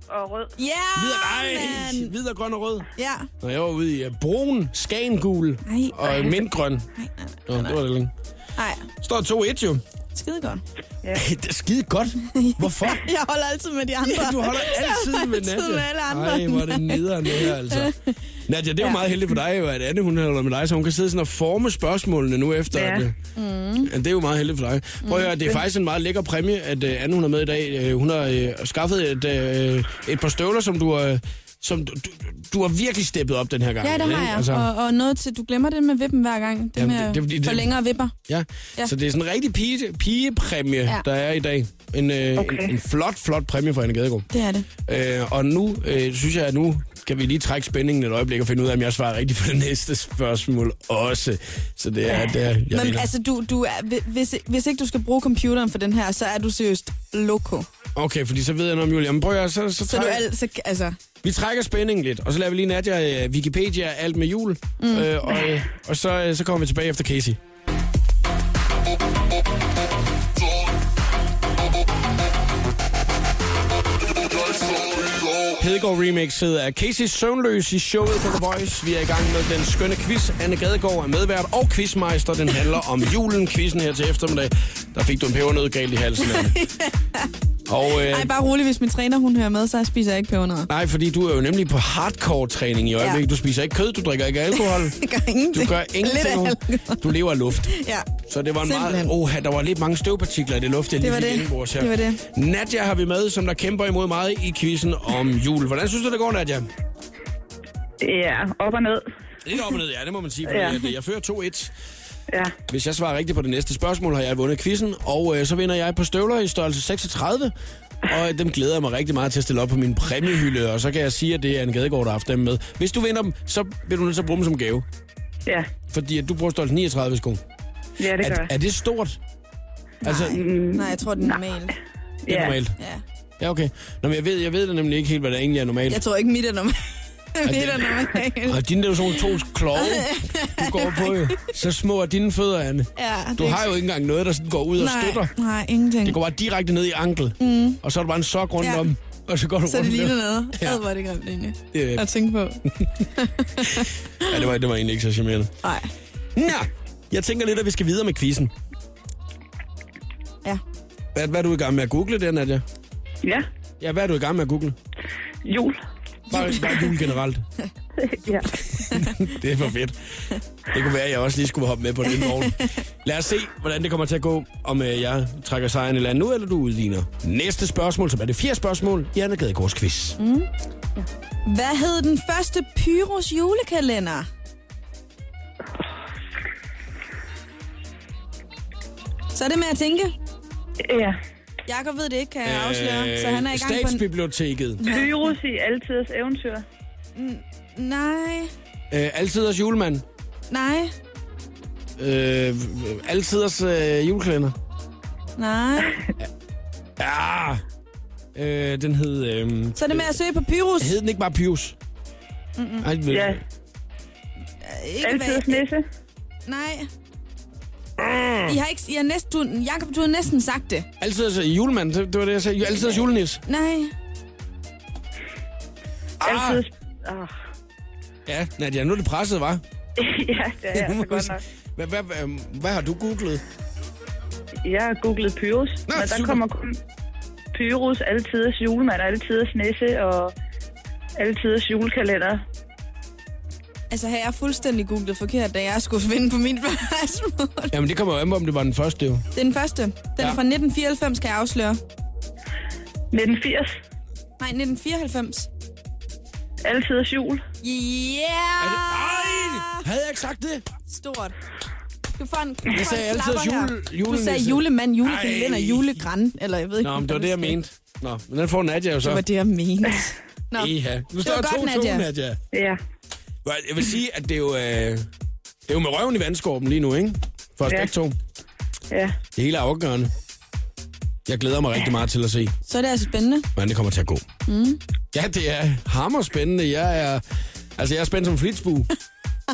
S10: og rød.
S2: Ja,
S1: Hvid og, nej,
S2: mand.
S1: hvid og grøn og rød.
S2: Ja.
S1: Når jeg var ude i uh, brun, skangul
S2: Nej.
S1: og øh, mintgrøn.
S2: Nej, nej,
S1: Nå, det var det længe.
S2: nej.
S1: Står 2-1 jo.
S2: Skide godt.
S1: det er skide godt. Hvorfor?
S2: Jeg holder altid med de andre.
S1: Ja, du holder altid med
S2: altid med alle
S1: Nadia.
S2: andre.
S1: Nej, hvor er det nederen det her, altså. Nadia, det er jo
S2: Ja.
S1: meget heldigt for dig, jo, at Anne hun holder med dig, så hun kan sidde sådan og forme spørgsmålene nu efter.
S10: Ja.
S1: At, mm. at det er jo meget heldigt for dig. Prøv
S2: Mm.
S1: at høre, det er faktisk en meget lækker øh, præmie, at uh, Anne hun er med i dag. Uh, hun har uh, skaffet et, uh, et par støvler, som du... Uh, som du, du, du har virkelig steppet op den her gang.
S2: Ja, det
S1: ikke? Altså,
S2: har jeg. Og, og noget til, du glemmer det med vippen hver gang. Det
S1: Jamen,
S2: med
S1: det- det er fordi,
S2: det,
S1: det-
S2: for længere vipper.
S1: Ja. ja,
S2: Ja.
S1: så det er sådan en rigtig pige, pigepræmie, ja.
S2: Ja.
S1: der er i dag. En, øh, okay. en, en flot, flot præmie for Anne Gadegaard.
S2: Det er det.
S1: Øh, og nu øh, synes jeg, at nu kan vi lige trække spændingen et øjeblik og finde ud af, om jeg svarer rigtigt på det næste spørgsmål også. Så det er, det er jeg
S2: Men
S1: vinder.
S2: altså, du, du er, hvi- hvis, hvis ikke du skal bruge computeren for den her, så er du seriøst loco.
S1: Okay, fordi så ved jeg noget om Julia. Men prøv at, høre, så, så,
S2: Så
S1: træk,
S2: du al, så, altså,
S1: vi trækker spændingen lidt, og så lader vi lige Nadia øh, Wikipedia alt med jul. Mm. Øh, og øh, og så, øh, så kommer vi tilbage efter Casey. Hedegaard Remix hedder af Casey Søvnløs i showet på The Voice. Vi er i gang med den skønne quiz. Anne Gadegaard er medvært og quizmeister. Den handler om julen. Quizzen her til eftermiddag. Der fik du en pebernød galt i halsen. Anne. og, øh,
S2: ej, bare rolig, hvis min træner hun hører med, så spiser jeg ikke pebernødder.
S1: Nej, fordi du er jo nemlig på hardcore-træning i øjeblikket. Ja.
S2: Ja.
S1: Du spiser ikke kød, du drikker ikke alkohol.
S2: Jeg gør ingenting.
S1: Du gør
S2: Lidt af
S1: ingenting.
S2: alkohol.
S1: Du lever af luft.
S2: Ja.
S1: Så det var en meget...
S2: Simpelthen.
S1: Oha, der var lidt mange støvpartikler i det luft, jeg lige
S2: var
S1: fik
S2: det.
S1: indenbords her.
S2: Det var det.
S1: Nadia har vi med, som der kæmper imod meget i quizzen om jul. Hvordan synes du, det går, Nadia?
S10: Ja, op og ned.
S1: Lidt op og ned, ja, det må man sige.
S10: Ja.
S1: Ja. Jeg fører 2-1.
S10: Ja.
S1: Hvis jeg svarer rigtigt på det næste spørgsmål, har jeg vundet quizzen, og øh, så vinder jeg på støvler i størrelse 36. Og dem glæder jeg mig rigtig meget til at stille op på min præmiehylde, og så kan jeg sige, at det er en gadegaard, der har haft dem med. Hvis du vinder dem, så vil du nødt til at bruge dem som gave,
S10: Ja,
S1: fordi at du bruger størrelse 39 sko.
S10: ja det gør
S1: Er,
S10: jeg.
S1: er det stort? Altså, det
S2: Nej, jeg tror, det er normalt.
S1: er
S10: Ja.
S1: normalt.
S2: Ja.
S1: Ja, okay. Nå, men jeg ved, jeg ved det nemlig ikke helt, hvad der egentlig er normalt.
S2: Jeg tror ikke, mit er normalt. mit er normalt.
S1: Og dine der er jo sådan nogle to kloge, du går på jo. Så små er dine fødder, Anne.
S2: Ja, det
S1: Du
S2: er
S1: har jo ikke engang noget, der sådan går ud og
S2: nej,
S1: støtter.
S2: Nej, ingenting.
S1: Det går bare direkte ned i ankel, mm. og så er der bare en sok rundt ja.
S2: Ja.
S1: om, og så går du
S2: så
S1: rundt
S2: det ligner
S1: med-
S2: noget.
S1: Ja.
S2: Ja. Ad, hvor er det grimt egentlig
S1: Det er-
S2: at tænke på.
S1: Ja, det var, det var egentlig ikke så charmerende.
S2: Nej.
S1: Nå, jeg tænker lidt, at vi skal videre med quizzen.
S2: Ja.
S1: Hvad, hvad er du i gang med at google der, Nadia?
S10: Ja,
S1: Ja, hvad er du i gang med at google?
S10: jul.
S1: Bare, bare jul generelt.
S10: Ja.
S1: Det er for fedt. Det kunne være, at jeg også lige skulle hoppe med på den morgen. Lad os se, hvordan det kommer til at gå, om øh, jeg trækker sejren i land nu, eller du udligner. Næste spørgsmål, som er det fjerde spørgsmål i Anna Gadegaards quiz. Mm.
S2: Hvad hed den første Pyros julekalender? Så er det med at tænke.
S10: ja.
S2: Jakob ved det ikke, kan jeg afsløre.
S1: Øh,
S2: så han er i gang på en...
S1: Statsbiblioteket.
S10: Virus i altidens eventyr.
S2: Nej,
S1: Øh, altiders julemand.
S2: nej,
S1: Øh, altiders øh, juleklænder.
S2: nej.
S1: Ja. Øh, den hed... Øh,
S2: Så er det med at søge på Pyrus.
S1: hed den ikke bare Pius? Mm-mm. Ej, ved,
S10: Ja.
S1: ja.
S2: Ikke
S10: Altidens
S2: hvad-
S10: nisse.
S2: Nej. I har ikke... I har næsten... Du, Jakob, du har næsten sagt det.
S1: Altiders øh, julemand, det, det var det, jeg sagde. Altiders julenis.
S2: Nej.
S1: Ah,
S10: Altidens... Oh.
S1: ja, Nadia, nu er det presset, var.
S10: ja, det er altså godt nok.
S1: Hvad, hvad, øhm, hvad, hvad har du googlet?
S10: Jeg har googlet Pyrus,
S1: Nå,
S10: Nå, men der
S1: super.
S10: kommer kun Pyrus, altiders julemand, altiders nisse og altiders julekalender.
S2: Altså, har jeg fuldstændig googlet forkert, da jeg skulle finde på min spørgsmål.
S1: Jamen, det kommer jo an på, om det var den første, jo.
S2: Det er den første. Den
S1: Ja.
S2: ja. er fra 1994, kan jeg afsløre.
S10: 1980,
S2: Nej, 1994.
S10: altiders jul.
S1: Er det,
S2: Yeah!
S1: ej, havde jeg ikke sagt det?
S2: Stort. Du får en, du
S1: Jeg sagde altid jule,
S2: Du
S1: julenisse.
S2: sagbe her. Du sagde julemand, julekalender,
S1: Ej.
S2: julegræn, eller jeg ved ikke.
S1: Nå, men det var
S2: hvordan
S1: det, jeg
S2: skal-
S1: mente. Nå, men den får Nadia jo så.
S2: Det var det, jeg mente. Nå.
S1: Eha. Nu står
S2: var godt,
S1: 2-2, Nadia.
S2: Nadia.
S1: Nadia.
S10: Ja,
S1: Jeg vil sige, at det er jo, øh, det er jo med røven i vandskorben lige nu, ikke? For os
S10: Ja.
S1: begge to.
S10: ja.
S1: Det hele er afgørende. Jeg glæder mig rigtig meget til at se,
S2: Så er det altså spændende.
S1: hvordan det kommer til at gå. Mm. Ja, det er hammerspændende. Jeg er, altså, jeg er spændt som flitsbue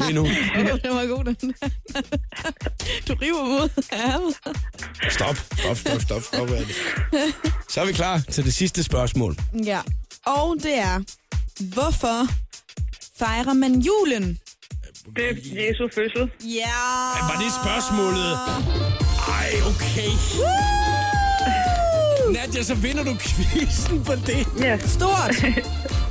S1: lige nu.
S2: Oh, det var god, den der. Du river mod ærmet.
S1: Stop, stop, stop, stop, stop. hvad er det? Så er vi klar til det sidste spørgsmål.
S2: Ja. Og det er, hvorfor fejrer man julen?
S10: Det er Jesu fødsel.
S2: Ja.
S1: Var det spørgsmålet? Ej, okay. Nadia, så vinder du quizzen på det.
S10: Ja,
S2: Stort.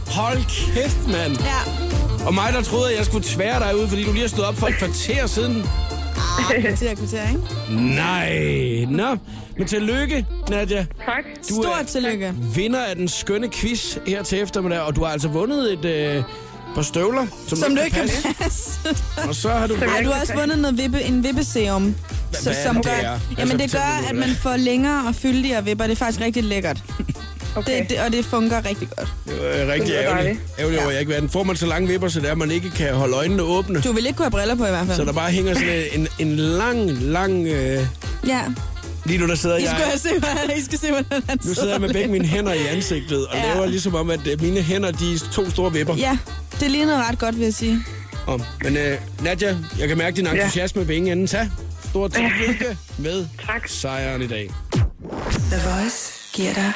S1: Hold kæft, mand.
S2: Ja.
S1: Og mig, der troede, at jeg skulle tvære dig ud, fordi du lige har stået op for et kvarter siden.
S2: Ah, kvarter, kvarter, ikke?
S1: Nej. Nå, men tillykke, Nadia.
S10: Tak.
S1: Du
S2: Stort tillykke.
S1: vinder af den skønne quiz her til eftermiddag, og du har altså vundet et øh, par støvler, som,
S2: Som du ikke kan
S1: passe.
S2: passe.
S1: Og så har du...
S10: Som jeg
S2: Ej,
S10: ikke
S2: du har
S10: kan
S2: også
S10: passe.
S2: vundet noget vippe, en vippeserum. Så,
S1: hvad er
S2: som
S1: det,
S2: gør,
S1: det er? Altså,
S2: jamen det
S1: fortæl mig,
S2: gør,
S1: hvad
S2: at
S1: det er.
S2: man får længere og fyldigere vipper. Det er faktisk rigtig lækkert.
S10: Okay.
S2: Det, det, og det fungerer rigtig godt.
S1: Det var, øh, rigtig
S10: Det lyder
S1: ærgerligt.
S10: dejligt.
S1: Ærgerligt over, at jeg ikke vandt. Får man så lange vipper, så det er, at man ikke kan holde øjnene åbne.
S2: Du vil ikke kunne have briller på i hvert fald.
S1: Så der bare hænger sådan en, en lang, lang... Øh,
S2: Ja.
S1: lige nu, der sidder
S2: I
S1: jeg...
S2: skal, se, hvordan, I skal se, hvordan han
S1: Nu sidder jeg med begge mine hænder i ansigtet og
S2: Ja.
S1: laver ligesom om, at øh, mine hænder, de er to store vipper.
S2: Ja, det lignede ret godt, vil jeg sige.
S1: Om. Men øh, Nadja, jeg kan mærke din entusiasme ja. ved ingen ende. Tag stort tillykke med
S10: Tak.
S1: sejren i dag.
S9: The Voice giver dig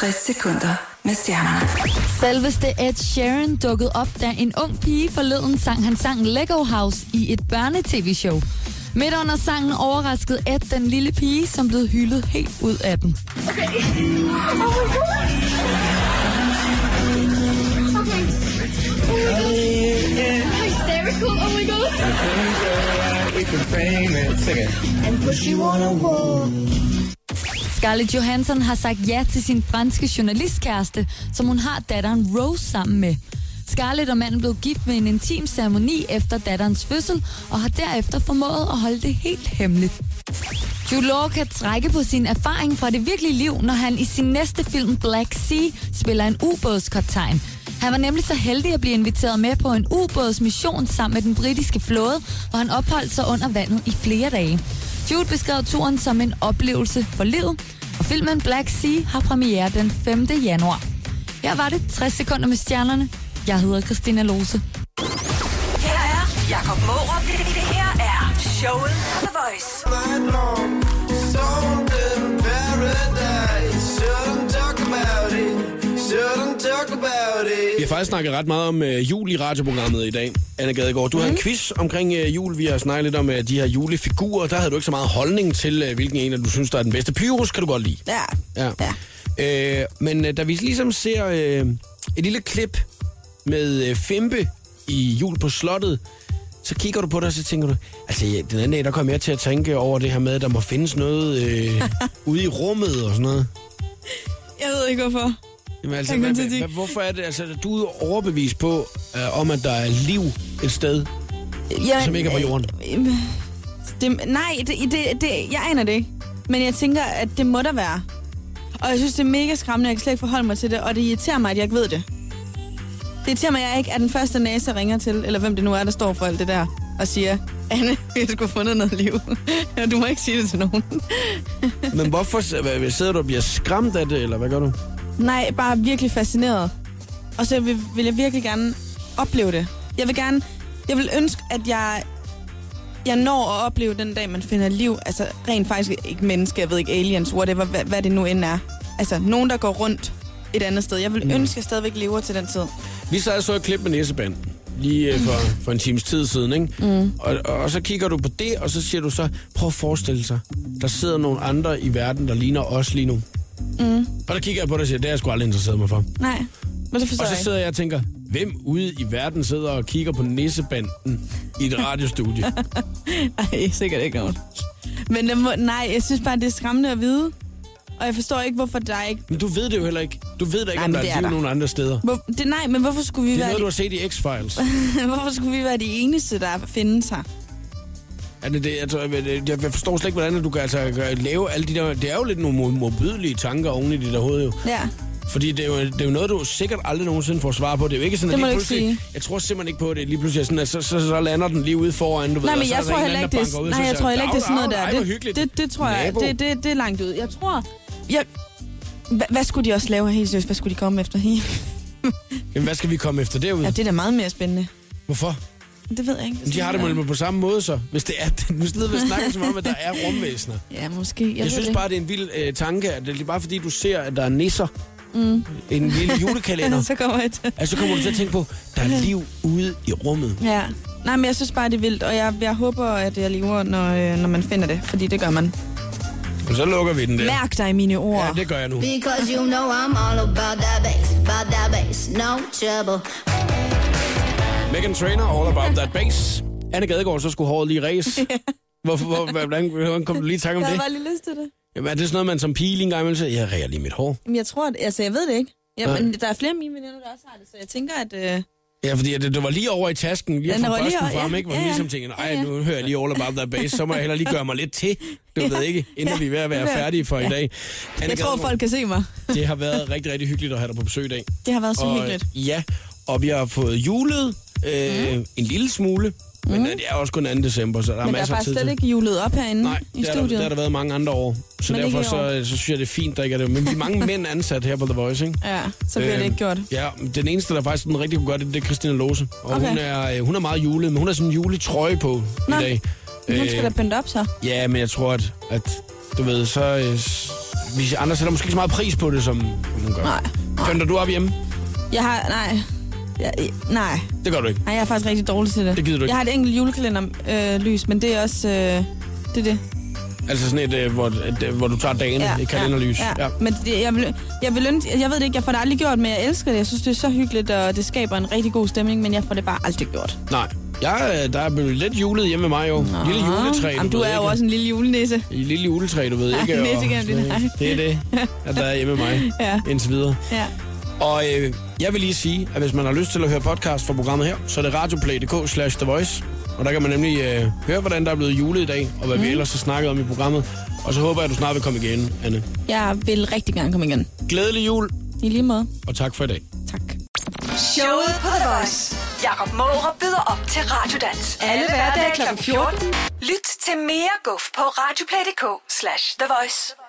S9: 60 sekunder med stjernerne.
S6: Selveste Ed Sheeran dukkede op, da en ung pige forleden sang han sang Lego House i et børnetv-show. Midt under sangen overraskede Ed den lille pige, som blev hyldet helt ud af den. Scarlett Johansson har sagt ja til sin franske journalistkæreste, som hun har datteren Rose sammen med. Scarlett og manden blev gift ved en intim ceremoni efter datterens fødsel, og har derefter formået at holde det helt hemmeligt. Jude Law kan trække på sin erfaring fra det virkelige liv, når han i sin næste film Black Sea spiller en ubådskaptajn. Han var nemlig så heldig at blive inviteret med på en ubådsmission sammen med den britiske flåde, hvor han opholdt sig under vandet i flere dage. Jude beskrev turen som en oplevelse for livet, og filmen Black Sea har premiere den 5. januar. Her var det 60 sekunder med stjernerne. Jeg hedder Christina Lose.
S9: Her er Jakob Morup. Det, det, det her er showet på The Voice.
S7: night long. Stoned in paradise. Shouldn't talk about it. Shouldn't talk about
S1: Vi har
S7: it.
S1: faktisk snakket ret meget om øh, jul i radioprogrammet i dag, Anna Gadegaard. Du mm. har en quiz omkring øh, jul. Vi har snakket lidt om øh, de her julefigurer. Der havde du ikke så meget holdning til, øh, hvilken en af du synes, der er den bedste. Pyrus kan du godt lide.
S2: Ja. ja.
S1: Øh, men øh, da vi ligesom ser øh, et lille klip med øh, Fempe i Jul på Slottet, så kigger du på det, og så tænker du, altså ja, den anden dag, der kom jeg til at tænke over det her med, at der må findes noget øh, ude i rummet og sådan noget.
S2: Jeg ved ikke, hvorfor.
S1: Jamen, altså,
S2: Jeg kan
S1: hvad,
S2: kun sige-
S1: hvad, hvorfor er det, altså du er overbevist på, øh, om at der er liv et sted,
S2: Jeg,
S1: som ikke er på jorden?
S2: Øhm, Det, nej, det, det, det, jeg aner det ikke. Men jeg tænker, at det må der være. Og jeg synes, det er mega skræmmende, og jeg kan slet ikke forholde mig til det, og det irriterer mig, at jeg ikke ved det. Det irriterer mig, at jeg ikke er den første næse, jeg ringer til, eller hvem det nu er, der står for alt det der, og siger, Anne, vi har sgu fundet noget liv. Og du må ikke sige det til nogen.
S1: Men hvorfor s- hvad- sidder du og bliver skræmt af det, eller hvad gør du?
S2: Nej, bare virkelig fascineret. Og så vil, vil jeg virkelig gerne opleve det. Jeg vil gerne, jeg vil ønske, at jeg, jeg når at opleve den dag, man finder liv. Altså rent faktisk ikke menneske, jeg ved ikke, aliens, whatever, hvad, hvad det nu end er. Altså nogen, der går rundt et andet sted. Jeg vil mm. ønske, at jeg stadigvæk lever til den tid.
S1: Vi sad og så et klip med næsebanden lige øh, for, for en times tid siden, ikke? Mm. Og, og, og så kigger du på det, og så siger du så, prøv at forestille sig, der sidder nogle andre i verden, der ligner os lige nu. Mm. Og der kigger jeg på dig og siger, det er jeg sgu aldrig interesseret mig for.
S2: Nej, men det forstår
S1: Og
S2: jeg
S1: så
S2: ikke.
S1: sidder jeg og tænker, hvem ude i verden sidder og kigger på næsebanden i et radiostudie?
S2: Ej, sikkert ikke nogen. Men det må, nej, jeg synes bare, det er skræmmende at vide. Og jeg forstår ikke, hvorfor der ikke...
S1: Men du ved det jo heller ikke. Du ved da ikke,
S2: Nej,
S1: om
S2: men
S1: der
S2: det
S1: er
S2: er
S1: liv
S2: der.
S1: nogen andre steder.
S2: Hvor, det, nej, men hvorfor skulle vi
S1: Det er
S2: være...
S1: noget, du har set i X-Files.
S2: hvorfor skulle vi være de eneste, der findes her?
S1: Er det det, altså, jeg- jeg forstår slet ikke, hvordan du kan altså, gøre- lave alle de der... Det er jo lidt nogle mo- morbidelige tanker oven i dit der hoved, jo.
S2: Ja.
S1: Fordi det er, jo, det er jo noget, du sikkert aldrig nogensinde får svar på. Det er jo ikke sådan,
S2: Det må
S1: at lige
S2: du ikke
S1: pludselig... Jeg tror simpelthen ikke på at det. Lige pludselig er sådan, at så, så, så lander den lige ude foran, du ved.
S2: Nej,
S1: og
S2: men
S1: så er
S2: jeg
S1: der
S2: tror
S1: en
S2: heller
S1: eller
S2: ikke,
S1: anden,
S2: det,
S1: der banker ud,
S2: nej,
S1: så
S2: jeg
S1: siger,
S2: tror heller ikke, det er sådan noget
S1: "Dav,
S2: der.
S1: dav, ej, hvor
S2: Det,
S1: hyggeligt.
S2: det, det tror jeg,
S1: Nabo.
S2: det, det, det er langt ud. Jeg tror, jeg, hva, hvad skulle de også lave helt seriøst? Hvad skulle de komme efter?
S1: Jamen, hvad skal vi komme efter derude?
S2: ja, det er da meget mere spændende.
S1: Hvorfor?
S2: Det ved jeg ikke.
S1: Men De har det måske på samme måde, så. Hvis det er... Nu sidder vi og snakker som om, at der er rumvæsener.
S2: Ja, måske. Jeg,
S1: Jeg
S2: ved
S1: synes
S2: det.
S1: bare, det er en vild øh, tanke, at det er bare fordi, du ser, at der er nisser. Mm. En lille julekalender.
S2: Så kommer jeg til.
S1: Altså, så kommer du til at tænke på, der er liv ude i rummet.
S2: Ja. Nej, men jeg synes bare, det er vildt, og jeg, jeg håber, at jeg lever, når, øh, når man finder det, fordi det gør man.
S1: Og så lukker vi den der.
S2: Mærk dig i mine ord.
S1: Ja, det gør jeg nu.
S4: Because you know I'm all about that bass, about that bass, no trouble.
S1: Megan Trainer, All About That Bass. Anne Gadegaard, så skulle håret lige ræs. Hvorfor, hvor, hvordan, hvordan kom du lige i tanke om
S2: Jeg havde
S1: det?
S2: bare lige lyst til det.
S1: Jamen, er det sådan noget, man som pige lige en gang imellem siger, jeg ræger lige mit hår?
S2: Men jeg tror, at, altså jeg ved det ikke.
S1: Nej.
S2: Ja, men der er flere af mine veninder, der også har det, så jeg tænker, at... Øh,
S1: Ja, fordi det, det var lige over i tasken, lige
S2: Den
S1: fra
S2: var lige
S1: busken
S2: over-
S1: frem,
S2: ja,
S1: ikke? Hvor
S2: ja,
S1: ja,
S2: ja.
S1: ligesom tænker, nej,
S2: Ja, ja.
S1: nu hører jeg lige all about that bass, så må jeg heller lige gøre mig lidt til, du ved ikke, inden vi er ved at være
S2: Ja.
S1: færdige for i dag. Anne
S2: jeg tror,
S1: Gadegaard,
S2: folk kan se mig.
S1: Det har været rigtig, rigtig hyggeligt at have dig på besøg i dag.
S2: Det har været så
S1: og, øh,
S2: hyggeligt. Mm.
S1: Ja, og vi har fået julet øh, en lille smule, men øh, det er også kun 2. december, så der er
S2: Men der er
S1: masser af
S2: faktisk
S1: altså, tid
S2: slet ikke
S1: til.
S2: julet op herinde
S1: Nej,
S2: Mm, i
S1: det har, der,
S2: studiet.
S1: det har der været mange andre år, så
S2: Men ikke
S1: derfor
S2: i år.
S1: så, så synes jeg, det er fint, der ikke er det. Men vi er mange mænd ansat her på The Voice, ikke?
S2: Ja, så bliver det
S1: Øhm,
S2: ikke gjort.
S1: Ja, den eneste, der faktisk den rigtig kunne gøre det, det er Christina Lose. Og okay.
S2: Okay.
S1: hun, er, øh, hun er meget julet, men hun har sådan en juletrøje på Nå.
S2: Nå,
S1: i dag. Øh,
S2: Hun skal da pynte op så.
S1: ja, men jeg tror, at, at du ved, så... Øh, s- vi andre sætter måske ikke så meget pris på det, som hun gør.
S2: Nej.
S1: Pynter du op hjemme?
S2: Jeg har... Nej. Jeg, nej.
S1: Det gør du ikke.
S2: Nej, jeg er faktisk rigtig dårlig til det.
S1: Det gider du ikke.
S2: Jeg har et enkelt julekalender-lys, øh, lys, men det er også... Øh, det er det.
S1: Altså sådan et, øh, hvor, et, øh, hvor du tager dagen ja, i kalenderlys.
S2: Ja, ja. ja. Men det, jeg, vil, jeg, vil, ønske- jeg ved det ikke, jeg får det aldrig gjort, men jeg elsker det. Jeg synes, det er så hyggeligt, og det skaber en rigtig god stemning, men jeg får det bare aldrig gjort.
S1: Nej. Jeg, øh, der er blevet lidt julet hjemme med mig jo. Nå. Lille juletræ,
S2: Jamen, du
S1: ved
S2: er jo
S1: ikke?
S2: også en lille julenisse.
S1: I lille juletræ, du ved
S2: Nej,
S1: ikke.
S2: det er
S1: og-
S2: ikke gennem din
S1: sådan,
S2: hak.
S1: Det er det, at der er hjemme med mig
S2: Ja.
S1: indtil videre.
S2: Ja.
S1: Og øh, jeg vil lige sige, at hvis man har lyst til at høre podcast fra programmet her, så er det radioplay.dk slash The Voice. Og der kan man nemlig øh, høre, hvordan der er blevet julet i dag, og hvad mm.
S2: Mhm.
S1: vi ellers har snakket om i programmet. Og så håber jeg, at du snart vil komme igen, Anne.
S2: Jeg vil rigtig gerne komme igen.
S1: Glædelig jul,
S2: I lige måde.
S1: og tak for i dag.
S2: Tak.
S9: Showet på The Voice. Jakob Måre byder op til Radiodans. Alle hverdage kl. 14. Lyt til mere guf på radioplay.dk slash The Voice.